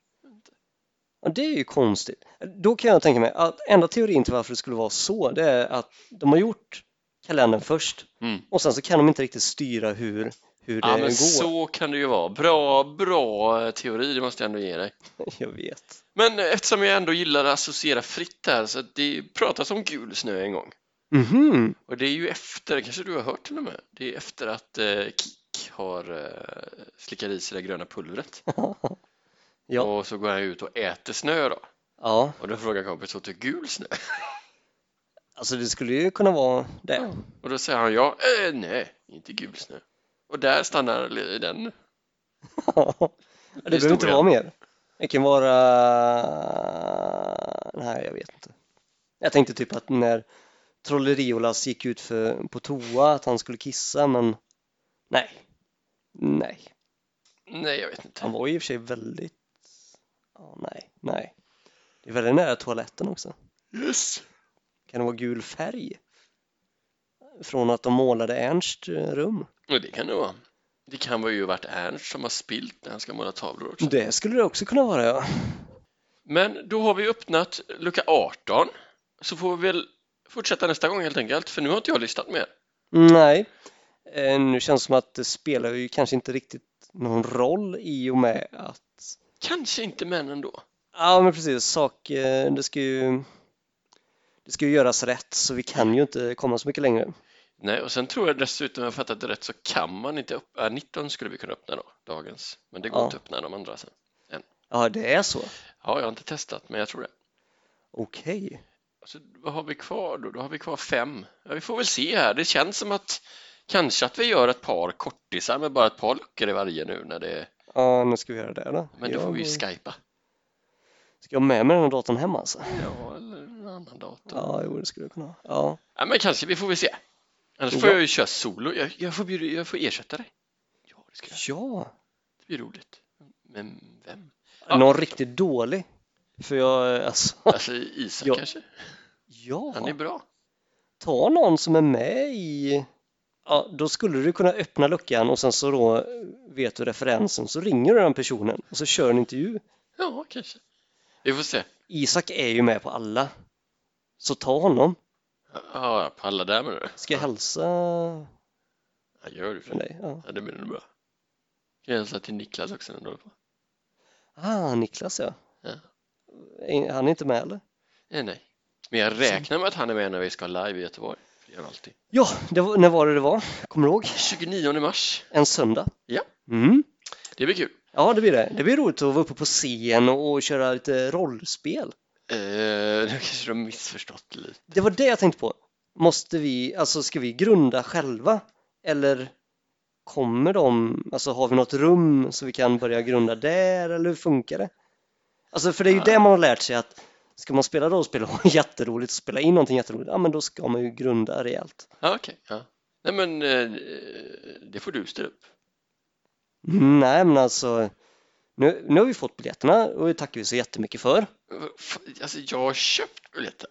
B: Ja, det är ju konstigt. Då kan jag tänka mig att enda teorin till varför det skulle vara så, det är att de har gjort kalendern först
C: Mm.
B: och sen så kan de inte riktigt styra hur, hur det
C: Ja,
B: går.
C: men så kan det ju vara. Bra, bra eh, teori, det måste jag ändå ge dig.
B: Jag vet.
C: Men eftersom jag ändå gillar att associera fritt här så att det pratas om gul snö en gång.
B: Mhm.
C: Och det är ju efter, kanske du har hört till och med, det är efter att eh, Kik har eh, slickat i sig det gröna pulvret.
B: Ja.
C: Och så går han ut och äter snö då.
B: Ja,
C: Och då frågar kompisen åt du gul snö?
B: alltså det skulle ju kunna vara det.
C: Och då säger han ja, eh, nej, inte gul snö. Och där stannar li- den.
B: Ja. Det behöver inte
C: historien.
B: vara mer. Det kan vara... Nej, jag vet inte. Jag tänkte typ att när Trolleriolas gick ut för, på toa att han skulle kissa, men nej. Nej.
C: Nej, jag vet
B: Han
C: inte.
B: var ju i och för sig väldigt... Ja, nej, nej. Det är väldigt nära toaletten också.
C: Yes.
B: Kan det vara gul färg? Från att de målade Ernst eh, rum?
C: Och det kan det vara. Det kan vara ju varit Ernst som har spilt när han ska måla tavlor också.
B: Det skulle det också kunna vara, ja.
C: Men då har vi öppnat lucka 18. Så får vi väl fortsätta nästa gång helt enkelt, för nu har inte jag lyssnat mer.
B: Mm, Nej, Eh, nu känns det som att det spelar ju kanske inte riktigt någon roll i och med att...
C: Kanske inte men ändå.
B: Ja, men precis, sak, eh, det ska ju... Det ska ju göras rätt, så vi kan ju inte komma så mycket längre.
C: Nej, och sen tror jag dessutom, om jag fattat det rätt, så kan man inte öppna, äh, 19 skulle vi kunna öppna då, dagens. Men det går
B: Ja.
C: inte att öppna de andra sen.
B: Ja, det är så.
C: Ja, jag har inte testat, men jag tror det.
B: Okej.
C: Så vad har vi kvar då? Då har vi kvar fem. Ja, vi får väl se här. Det känns som att kanske att vi gör ett par kortisar med bara ett par luckor i varje nu när det
B: Ja, nu ska vi göra det då.
C: Men då får vi
B: ska...
C: skypa.
B: ska jag ha med mig den här datorn hem alltså?
C: Ja, eller en annan dator.
B: Ja, jo, det skulle jag kunna. ha. Ja,
C: Ja, men kanske. Vi får väl se. Annars får
B: Ja.
C: jag ju köra solo. Jag, jag, får bjuda, jag får ersätta dig. Ja, det ska jag.
B: ja.
C: Det blir roligt. Men vem?
B: någon riktigt dålig. För jag, alltså,
C: Alltså Isak
B: Ja.
C: kanske?
B: ja.
C: Han är bra.
B: ta någon som är med i... Ja, då skulle du kunna öppna luckan och sen så då eh, vet du referensen så ringer du den personen och så kör en intervju.
C: Ja, kanske. Vi får se.
B: Isak är ju med på alla. Så ta honom.
C: Ja, på alla där menar du?
B: Ska jag hälsa
C: Ja, gör du för
B: från
C: det.
B: dig? Ja.
C: Ja, det blir nog bra. Ska jag hälsa till Niklas också när du håller på?
B: Ah, Niklas ja.
C: Ja.
B: Är- Han är inte med eller?
C: Nej, nej. Men jag räknar med att han är med när vi ska live i Göteborg. För det gör han alltid.
B: Ja, det var, när var det det var? Kommer du ihåg?
C: 29 mars.
B: En söndag?
C: Ja.
B: Mm.
C: Det blir kul.
B: Ja, det blir det. Det blir roligt att vara uppe på scen och och köra lite rollspel.
C: Eh, nu kanske de har missförstått lite.
B: Det var det jag tänkte på. Måste vi, alltså ska vi grunda själva? Eller kommer de, alltså har vi något rum så vi kan börja grunda där eller hur funkar det? Alltså för det är ju
C: Ja.
B: det man har lärt sig att ska man spela rollspel och ha jätteroligt och spela in någonting jätteroligt, ja men då ska man ju grunda rejält.
C: Ja, okej. Ja. Nej, men eh, det får du ställa upp.
B: Mm, Nej men alltså, nu, nu har vi fått biljetterna och det tackar vi så jättemycket för.
C: Fan, Alltså, jag har köpt biljetten.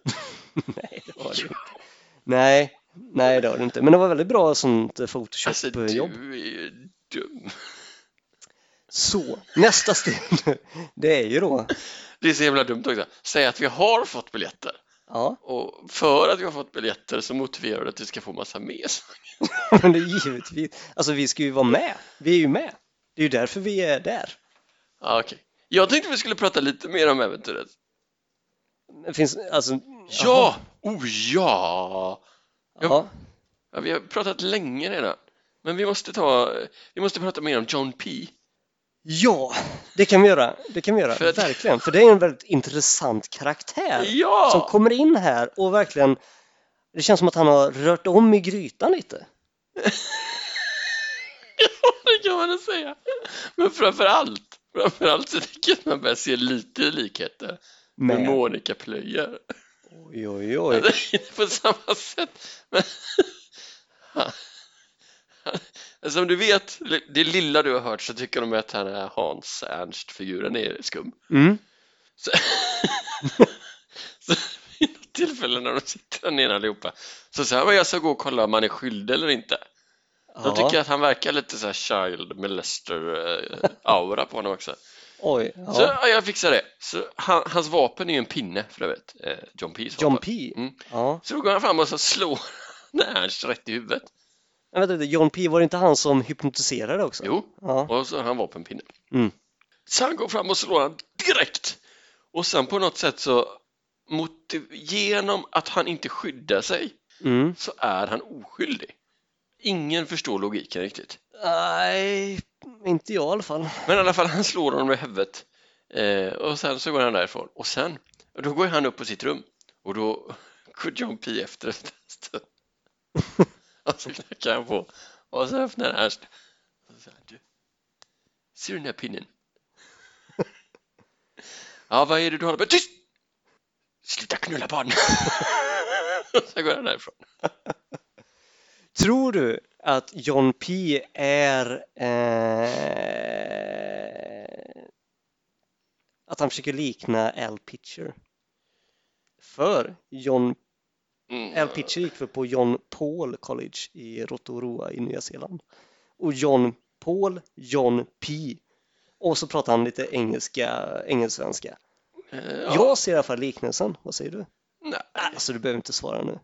B: Nej det har du inte. Nej, nej det har du inte. Men det var väldigt bra sånt eh,
C: Alltså, du
B: Photoshop-jobb.
C: är ju dum.
B: Så, nästa steg nu, det är ju då,
C: Det är så jävla dumt också. Säg att vi har fått biljetter.
B: ja,
C: Och för att vi har fått biljetter så motiverar det att vi ska få massa mer.
B: men det är givetvis, alltså vi ska ju vara med, vi är ju med, det är ju därför vi är där.
C: Ja, Ah, okej. Jag tänkte vi skulle prata lite mer om äventyret.
B: Det finns, alltså,
C: Ja! Oh ja!
B: jaha,
C: ja! Vi har pratat länge redan. Men vi måste ta, vi måste prata mer om John P.
B: ja, det kan vi göra, det kan vi göra,
C: För att-
B: verkligen, för det är en väldigt intressant karaktär som
C: Ja!
B: kommer in här och verkligen, det känns som att han har rört om i grytan lite.
C: Ja, det kan man nog säga. Men framför allt, framför allt så tycker jag att man börjar se lite likheter med
B: Men,
C: Monica Plöjer.
B: oj, oj, oj,
C: Inte på samma sätt. Men... Som du vet, det lilla du har hört så tycker de att den här Hans Ernst-figuren är skum.
B: mm.
C: Så, så vid något tillfälle när de sitter där nere allihopa så säger han, "Men jag ska gå och kolla om han är skyldig eller inte. De
B: ja,
C: tycker att han verkar lite så här child molester-aura på honom också.
B: oj,
C: Så
B: ja.
C: ja, jag fixar det. Så, han, hans vapen är ju en pinne för övrigt, eh, John Pees
B: John
C: vapen.
B: P.
C: Mm.
B: Ja.
C: Så då går han fram och så slår han Ernst rätt i huvudet.
B: Men vänta lite, John P var det inte han som hypnotiserade också?
C: Jo,
B: Ja.
C: och så har han vapenpinne.
B: Mm.
C: Så han går fram och slår han direkt. Och sen på något sätt så, motiv- genom att han inte skyddar sig
B: Mm.
C: så är han oskyldig. Ingen förstår logiken riktigt.
B: Nej, inte jag i alla fall.
C: Men i alla fall, han slår honom i huvudet. Eh, och sen så går han därifrån. Och sen, och då går han upp på sitt rum. Och då går John P efter en stund. och så knackar han på. Och så öppnar Ernst. Och så säger han, du, ser du den här pinnen? ja, vad är det du håller på med? Tyst! Sluta knulla barn! och så går han därifrån.
B: Tror du att John P är... Eh, att han försöker likna Al Pitcher? För John, Al
C: Mm.
B: Pitcher gick väl på John Paul College i Rotorua i Nya Zeeland. Och John Paul, John P. Och så pratar han lite engelska, engelsvenska.
C: Eh, ja.
B: Jag ser i alla fall liknelsen, vad säger du?
C: Nej.
B: Alltså du behöver inte svara nu.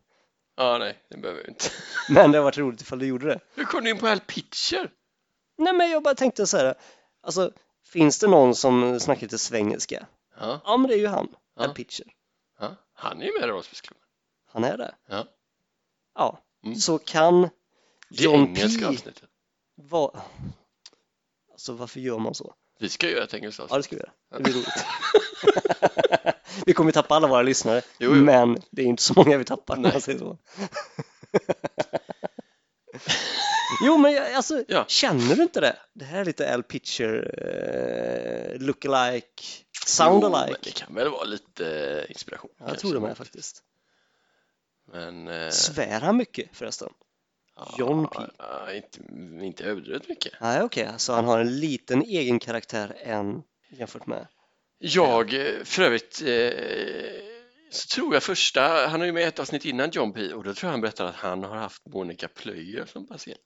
C: ja, nej, det behöver vi inte.
B: Men det har varit roligt ifall du gjorde det.
C: Hur kom du in på Al Pitcher?
B: Nej men jag bara tänkte så här, alltså finns det någon som snackar lite svengelska?
C: Ja.
B: Ja men det är ju han,
C: Ja.
B: Al Pitcher.
C: Ja, han är ju med i Rollspelsklubben.
B: Han är det.
C: Ja.
B: Ja,
C: Mm.
B: så kan
C: Det
B: John P
C: engelska avsnittet.
B: vara... Alltså varför gör man så?
C: Vi ska göra ett engelskt
B: Ja,
C: avsnitt.
B: det ska vi göra. Det blir roligt. vi kommer ju tappa alla våra lyssnare,
C: Jo, jo.
B: men det är inte så många vi tappar om man säger så. jo, men jag- alltså,
C: Ja.
B: känner du inte det? Det här är lite Al Pitcher, eh, look-alike, sound-alike.
C: men det kan väl vara lite inspiration.
B: Ja, jag
C: kanske.
B: tror det med faktiskt.
C: Men... eh,
B: Svär han mycket förresten?
C: ja,
B: John P.
C: ja, inte, inte överdrivet mycket.
B: Nej, okej, så han har en liten egen karaktär än jämfört med.
C: Jag, eh, för övrigt, eh, så tror jag första, han är ju med i ett avsnitt innan John P och då tror jag han berättar att han har haft Monica Plöjer som patient.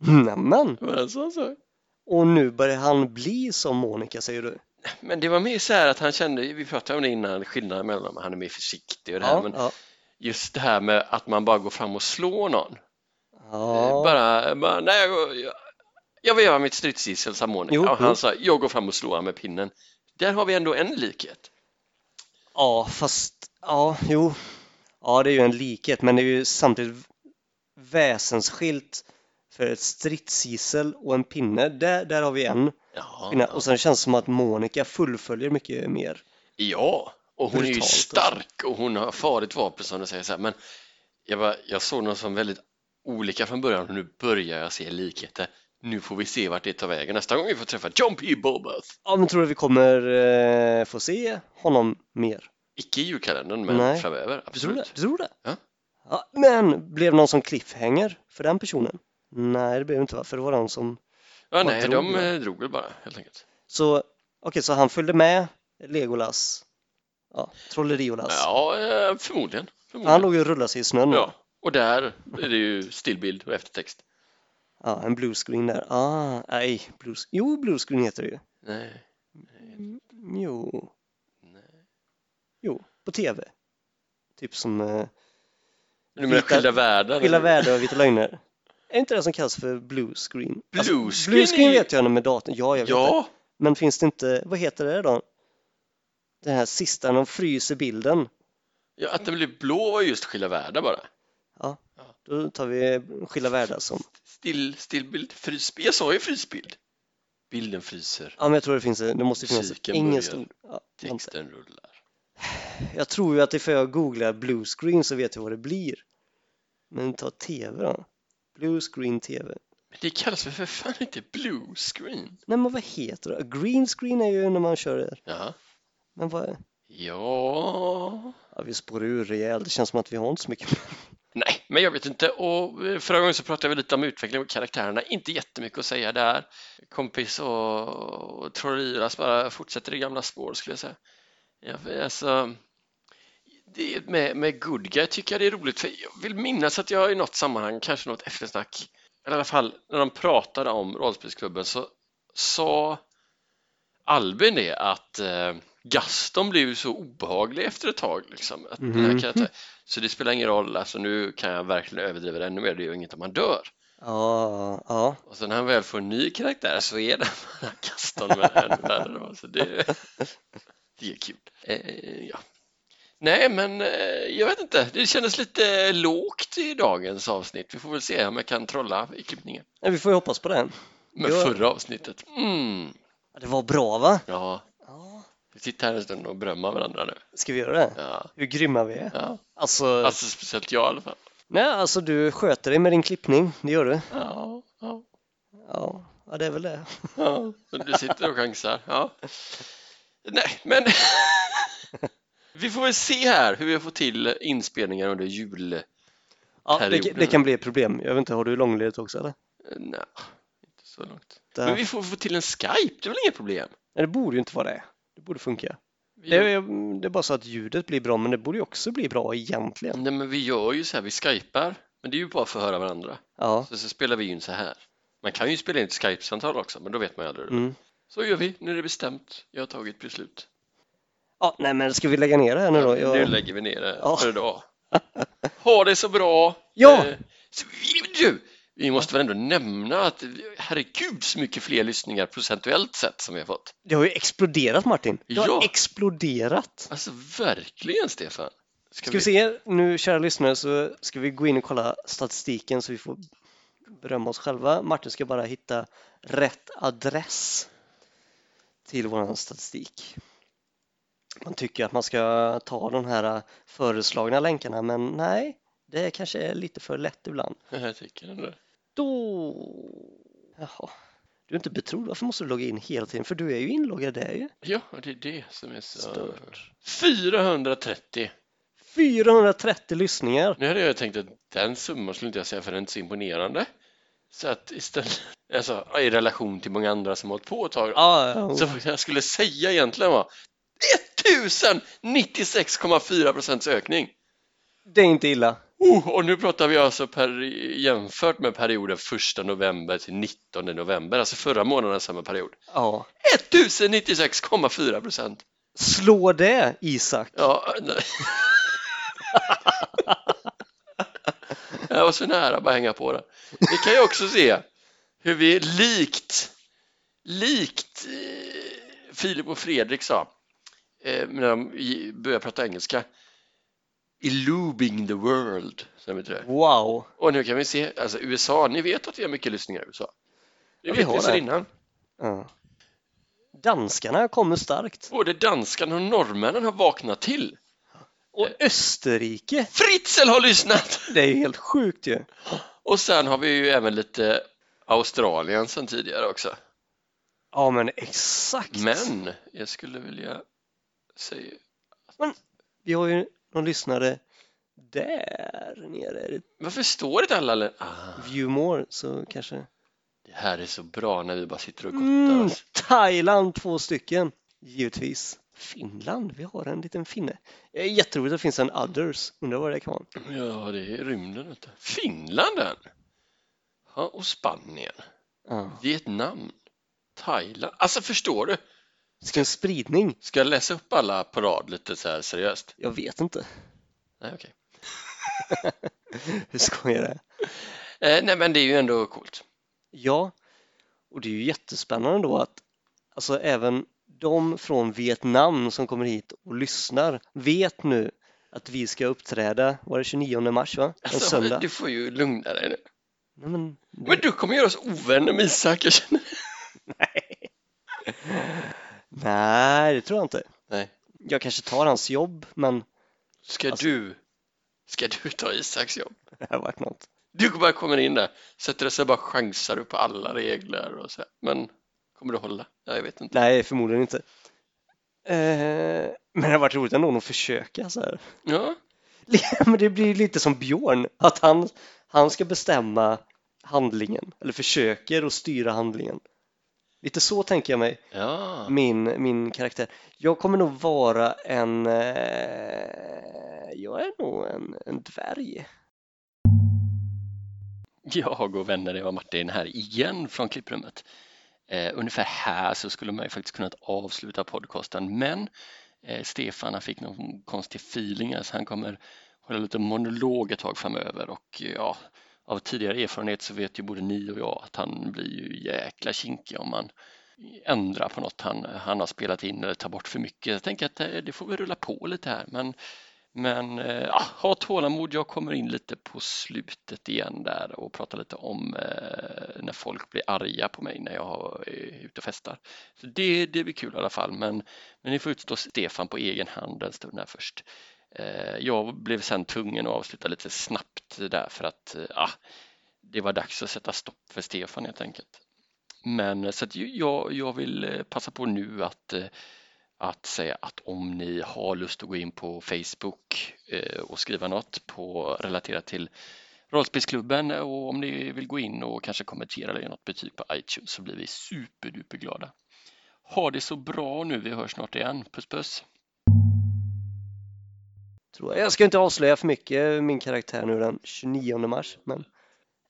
B: Nämen!
C: Det var en sån sak.
B: Och nu börjar han bli som Monica, säger du?
C: Men det var mer så här att han kände, vi pratade om det innan, skillnaden mellan dem, han är mer försiktig och det här, men
B: ja.
C: just det här med att man bara går fram och slår någon.
B: ja.
C: Bara, bara, nej, jag, går- jag, jag vill göra mitt stridsgissel, sa Monica.
B: Jo,
C: och han
B: jo.
C: sa, jag går fram och slår honom med pinnen. Där har vi ändå en likhet.
B: Ja, fast ja, jo. Ja, det är ju en likhet, men det är ju samtidigt väsensskilt för ett stridsgissel och en pinne. Där, där har vi en
C: Ja,
B: pinne. Och sen känns det som att Monica fullföljer mycket mer.
C: Ja, och hon är ju
B: Brutalt, alltså.
C: stark och hon har farligt vapen som du säger så här. Men jag, bara, jag såg någon som väldigt olika från början och nu börjar jag se likheter. Nu får vi se vart det tar vägen. Nästa gång vi får träffa John P. Bobbath.
B: Ja, men tror du vi kommer eh, få se honom mer?
C: Icke i julkalendern, men
B: Nej.
C: framöver.
B: Du tror det?
C: Absolut.
B: Du tror det?
C: Ja.
B: Ja, men blev någon som cliffhanger för den personen? Nej, det blev det inte va? För det var någon som...
C: Ja,
B: Vad
C: nej,
B: drog
C: de
B: du?
C: eh, drog väl bara helt enkelt.
B: Så, okej, så han följde med Legolas? Ja, Trolleriolas.
C: Ja, eh, förmodligen.
B: Alltså. Han
C: förmodligen.
B: låg ju och rullade sig i snön.
C: Ja, och där är det ju stillbild och eftertext.
B: Ja, en bluescreen där. Ah, nej, blues. Jo, bluescreen heter det ju.
C: Nej.
B: Jo,
C: nej.
B: jo, på tv. Typ som eh,
C: Du menar
B: Vita-
C: Skilda världar?
B: Skilda
C: eller?
B: världar och Vita lögner. Är inte det som kallas för bluescreen? Alltså,
C: Bluescreen
B: bluescreen
C: är ju-
B: vet jag nu med datorn. Ja, jag vet det.
C: Ja,
B: Men finns det inte, vad heter det då? Den här sista, när de fryser bilden.
C: ja, att den blev blå var ju just Skilda världar bara.
B: Då tar vi Skilda världar som.
C: Still, stillbild, frysbild. Jag sa ju frysbild. Bilden fryser,
B: Ja, men jag tror det finns, det måste ju finnas ett
C: Musiken
B: engelskt
C: börjar.
B: ord. Ja, vänta.
C: texten rullar.
B: jag tror ju att ifall jag googlar bluescreen så vet jag vad det blir. Men ta tv då. Bluescreen tv.
C: Men det kallas väl för fan inte blue screen?
B: Nej men vad heter det? Green screen är ju när man kör.
C: Ja.
B: Men vad?
C: Ja.
B: Ja, vi spårar ur rejält. Det känns som att vi har inte så mycket.
C: Nej, men jag vet inte. Och eh, förra gången så pratade vi lite om utvecklingen av karaktärerna. Inte jättemycket att säga där. Kompis och, och Trolliras bara fortsätter i gamla spår skulle jag säga. Ja, alltså, det med, med Good Guy tycker jag det är roligt för jag vill minnas att jag i något sammanhang, kanske något eftersnack, eller i alla fall när de pratade om rollspelsklubben så sa Albin det att eh, Gaston blev ju så obehaglig efter ett tag. Liksom, att den här
B: Mhm.
C: karaktären, så det spelar ingen roll, alltså nu kan jag verkligen överdriva det ännu mer, det gör inget om man dör.
B: Ja, ja.
C: Och sen när han väl får en ny karaktär så är det bara Gaston med ännu värre då, så det, det är kul. Eh, ja. Nej men eh, jag vet inte, det kändes lite lågt i dagens avsnitt. Vi får väl se om jag kan trolla i klippningen.
B: Nej, vi får ju hoppas på det.
C: Med
B: Ja.
C: förra avsnittet. Mm,
B: Ja, Det var bra va?
C: ja,
B: Ja.
C: vi sitter här en stund och berömmer varandra nu.
B: Ska vi göra det?
C: Ja,
B: Hur grymma vi är.
C: ja.
B: Alltså,
C: Alltså speciellt jag i alla fall.
B: nej alltså du sköter dig med din klippning. Det gör du.
C: Ja, ja,
B: Ja, ja det är väl det.
C: ja. Så du sitter och chansar. Ja. Nej, men vi får väl se här hur vi får till inspelningar under jul. Eh,
B: Ja, det,
C: Perioden.
B: det kan bli ett problem. Jag vet inte, har du långledigt också eller?
C: Nej, inte så långt.
B: Det,
C: Men vi får få till en Skype, det är väl inget problem?
B: nej, det borde ju inte vara det. Det borde funka.
C: Vi
B: Det
C: gör,
B: är, det är bara så att ljudet blir bra, men det borde ju också bli bra egentligen.
C: Nej, men vi gör ju så här, vi skypar, men det är ju bara för att höra varandra.
B: Ja.
C: Så, så spelar vi ju in så här. Man kan ju spela in ett Skype-samtal också, men då vet man ju aldrig.
B: Mm.
C: Så gör vi, nu är det bestämt. Jag har tagit beslut.
B: ja. Nej, men ska vi lägga ner det här nu då?
C: Nu
B: Jag...
C: lägger vi ner det
B: Ja.
C: för idag. Ha det så bra!
B: Ja.
C: Eh, så vi- Du, vi måste väl ändå nämna att vi- herregud så mycket fler lyssningar procentuellt sett som vi har fått.
B: Det har ju exploderat Martin. Det har
C: Ja.
B: exploderat.
C: Alltså verkligen Stefan!
B: Ska vi se, nu kära lyssnare så ska vi gå in och kolla statistiken så vi får berömma oss själva. Martin ska bara hitta rätt adress till vår statistik. Man tycker att man ska ta de här föreslagna länkarna men nej, det kanske är lite för lätt ibland.
C: Jag tycker ändå det.
B: Då... Jaha. Du är inte betrodd, varför måste du logga in hela tiden? För du är ju inloggad där ju.
C: Ja, det är det som är så...
B: Stört.
C: 430!
B: 430 lyssningar!
C: Nu hade jag tänkt att den summan skulle inte jag säga för den är inte så imponerande. Så att istället, alltså i relation till många andra som har hållit på ett tag,
B: Ja, ja,
C: så vad jag skulle säga egentligen var 1096,4 procents ökning!
B: det är inte illa.
C: Oh, och nu pratar vi alltså per, jämfört med perioden 1 november till 19 november, alltså förra månaden samma period.
B: Ja.
C: 1096,4 procent!
B: Slå det Isak!
C: Ja, nej. Jag var så nära bara hänga på det. Vi kan ju också se hur vi likt, likt eh, Filip och Fredrik sa eh, när de i- började prata engelska. Illubing the world, som heter det.
B: Wow!
C: Och nu kan vi se, alltså USA, ni vet att vi har mycket lyssningar i USA. Det
B: Ja, vi
C: vet
B: har
C: vi sedan
B: det.
C: innan.
B: Ja. Danskarna kommer starkt.
C: Både danskarna och norrmännen har vaknat till.
B: Och Österrike!
C: Fritzl har lyssnat!
B: Det är ju helt sjukt ju.
C: Och sen har vi ju även lite Australien sen tidigare också.
B: Ja men exakt!
C: Men jag skulle vilja säga...
B: Vi har ju någon lyssnare där nere. Är det
C: Varför står det alla länder? Ah,
B: View more så kanske.
C: det här är så bra när vi bara sitter och gottar
B: Mm,
C: oss.
B: Thailand två stycken, givetvis. Finland, vi har en liten finne. Eh, Jätteroligt att det finns en others, undrar vad det kan vara.
C: Ja, det är rymden vet du. Finland än. Ja, och Spanien.
B: Ja.
C: Vietnam. Thailand. Alltså förstår du?
B: Ska en spridning?
C: Ska jag läsa upp alla på rad lite så här seriöst?
B: Jag vet inte.
C: Nej, okej.
B: Hur skojar det?
C: Eh, nej, men det är ju ändå coolt.
B: Ja, och det är ju jättespännande då att alltså även de från Vietnam som kommer hit och lyssnar vet nu att vi ska uppträda, var det 29 mars va? En
C: Alltså,
B: söndag.
C: du får ju lugna dig nu.
B: Nej, men,
C: Men du kommer göra oss ovänner med Isak, jag känner
B: nej, det tror jag inte.
C: Nej.
B: Jag kanske tar hans jobb, men
C: Ska
B: Alltså-
C: du, ska du ta Isaks jobb?
B: det har varit något.
C: Du bara kommer in där, sätter dig så bara chansar du på alla regler och så här. Men kommer du hålla? Ja, jag vet inte.
B: Nej, förmodligen inte. Eh, men det har varit roligt ändå att försöka så här.
C: Ja,
B: Men det blir lite som Björn, att han, han ska bestämma handlingen, eller försöker att styra handlingen. Lite så tänker jag mig,
C: ja.
B: min, min karaktär. Jag kommer nog vara en... Eh, jag är nog en, en dvärg.
C: Jag och vänner, det var Martin här igen från klipprummet. Eh, ungefär här så skulle man ju faktiskt kunnat avsluta podcasten, men eh, Stefan han fick någon konstig feeling, här, så han kommer hålla lite monolog ett tag framöver och eh, ja, av tidigare erfarenhet så vet ju både ni och jag att han blir ju jäkla kinkig om man ändrar på något han, han har spelat in eller tar bort för mycket. Jag tänker att eh, det får vi rulla på lite här, men men eh, ja, ha tålamod, jag kommer in lite på slutet igen där och pratar lite om eh, när folk blir arga på mig när jag är ute och festar. Så det, det blir kul i alla fall, men, men ni får utstå Stefan på egen hand en stund här först. Eh, jag blev sen tvungen att avsluta lite snabbt där för att eh, ja, det var dags att sätta stopp för Stefan helt enkelt. Men eh, så att ju- jag, jag vill eh, passa på nu att eh, att säga att om ni har lust att gå in på Facebook eh, och skriva något på, relaterat till Rollspelsklubben och om ni vill gå in och kanske kommentera eller ge något betyg på iTunes så blir vi superduperglada. Ha det så bra nu, vi hörs snart igen. Puss puss!
B: Tror jag. jag ska inte avslöja för mycket min karaktär nu den 29 mars, men,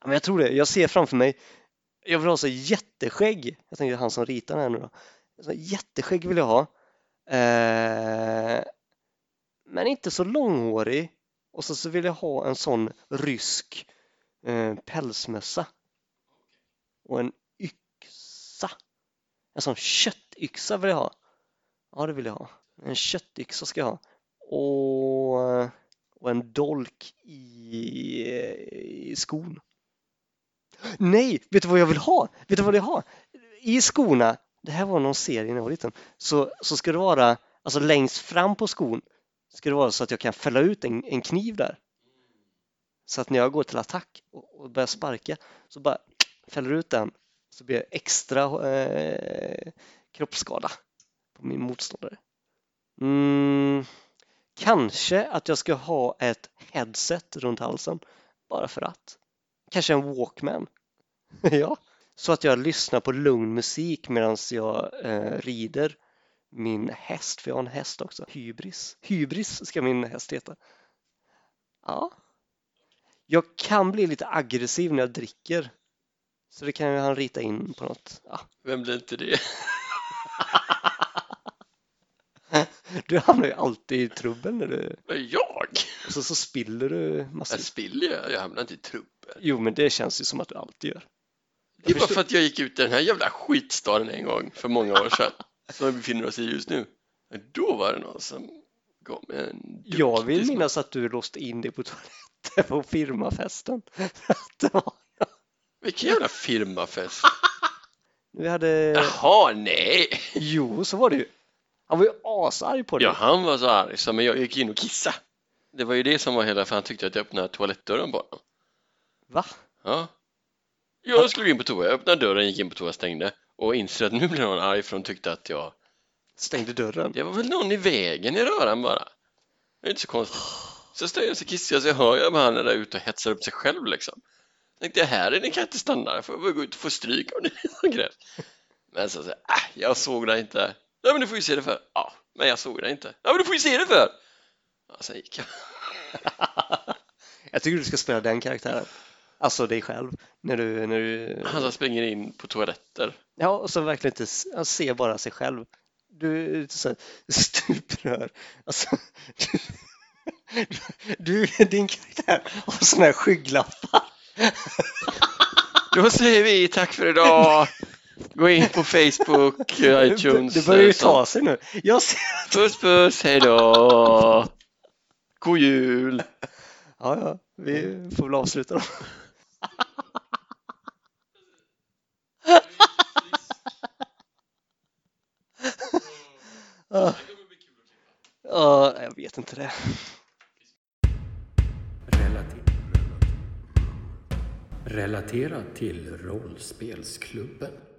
B: ja, men jag tror det. Jag ser framför mig, jag vill ha så jätteskägg. Jag tänker han som ritar den här nu då. Så jätteskägg vill jag ha. Eh, men inte så långhårig. Och så, så vill jag ha en sån rysk eh, pälsmössa. Och en yxa. En sån köttyxa vill jag ha. Ja, det vill jag ha. En köttyxa ska jag ha och, och en dolk i, i skon. Nej, vet du vad jag vill ha? Vet du vad jag vill ha? I skorna det här var någon serie när jag var liten, så, så ska det vara, alltså längst fram på skon, ska det vara så att jag kan fälla ut en, en kniv där. Så att när jag går till attack och, och börjar sparka så bara fäller ut den så blir jag extra eh, kroppsskada på min motståndare. Mm, kanske att jag ska ha ett headset runt halsen bara för att. Kanske en Walkman. ja, så att jag lyssnar på lugn musik medan jag eh, rider min häst, för jag har en häst också. Hybris. Hybris ska min häst heta. Ja. Jag kan bli lite aggressiv när jag dricker. Så det kan ju han rita in på något. Ja.
C: Vem blir inte det?
B: Du hamnar ju alltid i trubbel när du...
C: Men jag?
B: Och så, så spiller du
C: Jag
B: massivt.
C: spiller ju, jag hamnar inte i trubbel.
B: Jo, men det känns ju som att du alltid gör.
C: Det är
B: Jag
C: bara
B: förstår-
C: för att jag gick ut i den här jävla skitstaden en gång för många år sedan som vi befinner oss i just nu. Men Då var det någon som gav mig en duktig
B: Jag vill
C: smäll.
B: minnas att du låste in dig på toaletten på firmafesten. Att det var-
C: Vilken jävla firmafest?
B: Vi hade...
C: Jaha, nej!
B: Jo, så var det ju. Han var ju asarg på dig.
C: Ja, han var så arg så men jag gick in och kissade. Det var ju det som var hela, för han tyckte att jag öppnade toalettdörren på honom.
B: Va?
C: Ja. Jag skulle gå in på toa, jag öppnade dörren, gick in på toa, stängde och inser att nu blir någon arg för de tyckte att jag,
B: Stängde dörren?
C: det var väl någon i vägen i röran bara. Det är inte så konstigt. Så står jag så kissar jag så hör jag bara han är där ute och hetsar upp sig själv liksom. Tänkte jag här inne kan jag inte stanna, jag får väl gå ut och få stryk om det är något gräs. Men så säger jag, äh, jag såg dig inte. Ja men du får ju se det för. Ja, men jag såg dig inte. Ja men du får ju se det för. Ja, sen gick jag.
B: Jag tycker du ska spela den karaktären. Alltså dig själv. När du... När du...
C: Han som springer in på toaletter.
B: Ja, och så verkligen inte... s- Han ser bara sig själv. Du är så här stuprör. Alltså... Du... du, din karaktär har sådana här skygglappar.
C: Då säger vi tack för idag. Gå in på Facebook, iTunes.
B: Det börjar ju
C: eh, sånt.
B: ta sig nu. Jag ser...
C: Puss puss, hej då. God jul.
B: Ja, ja, vi får väl avsluta då. Ja, Ja, jag vet inte det.
A: Relater- Relaterat till rollspelsklubben.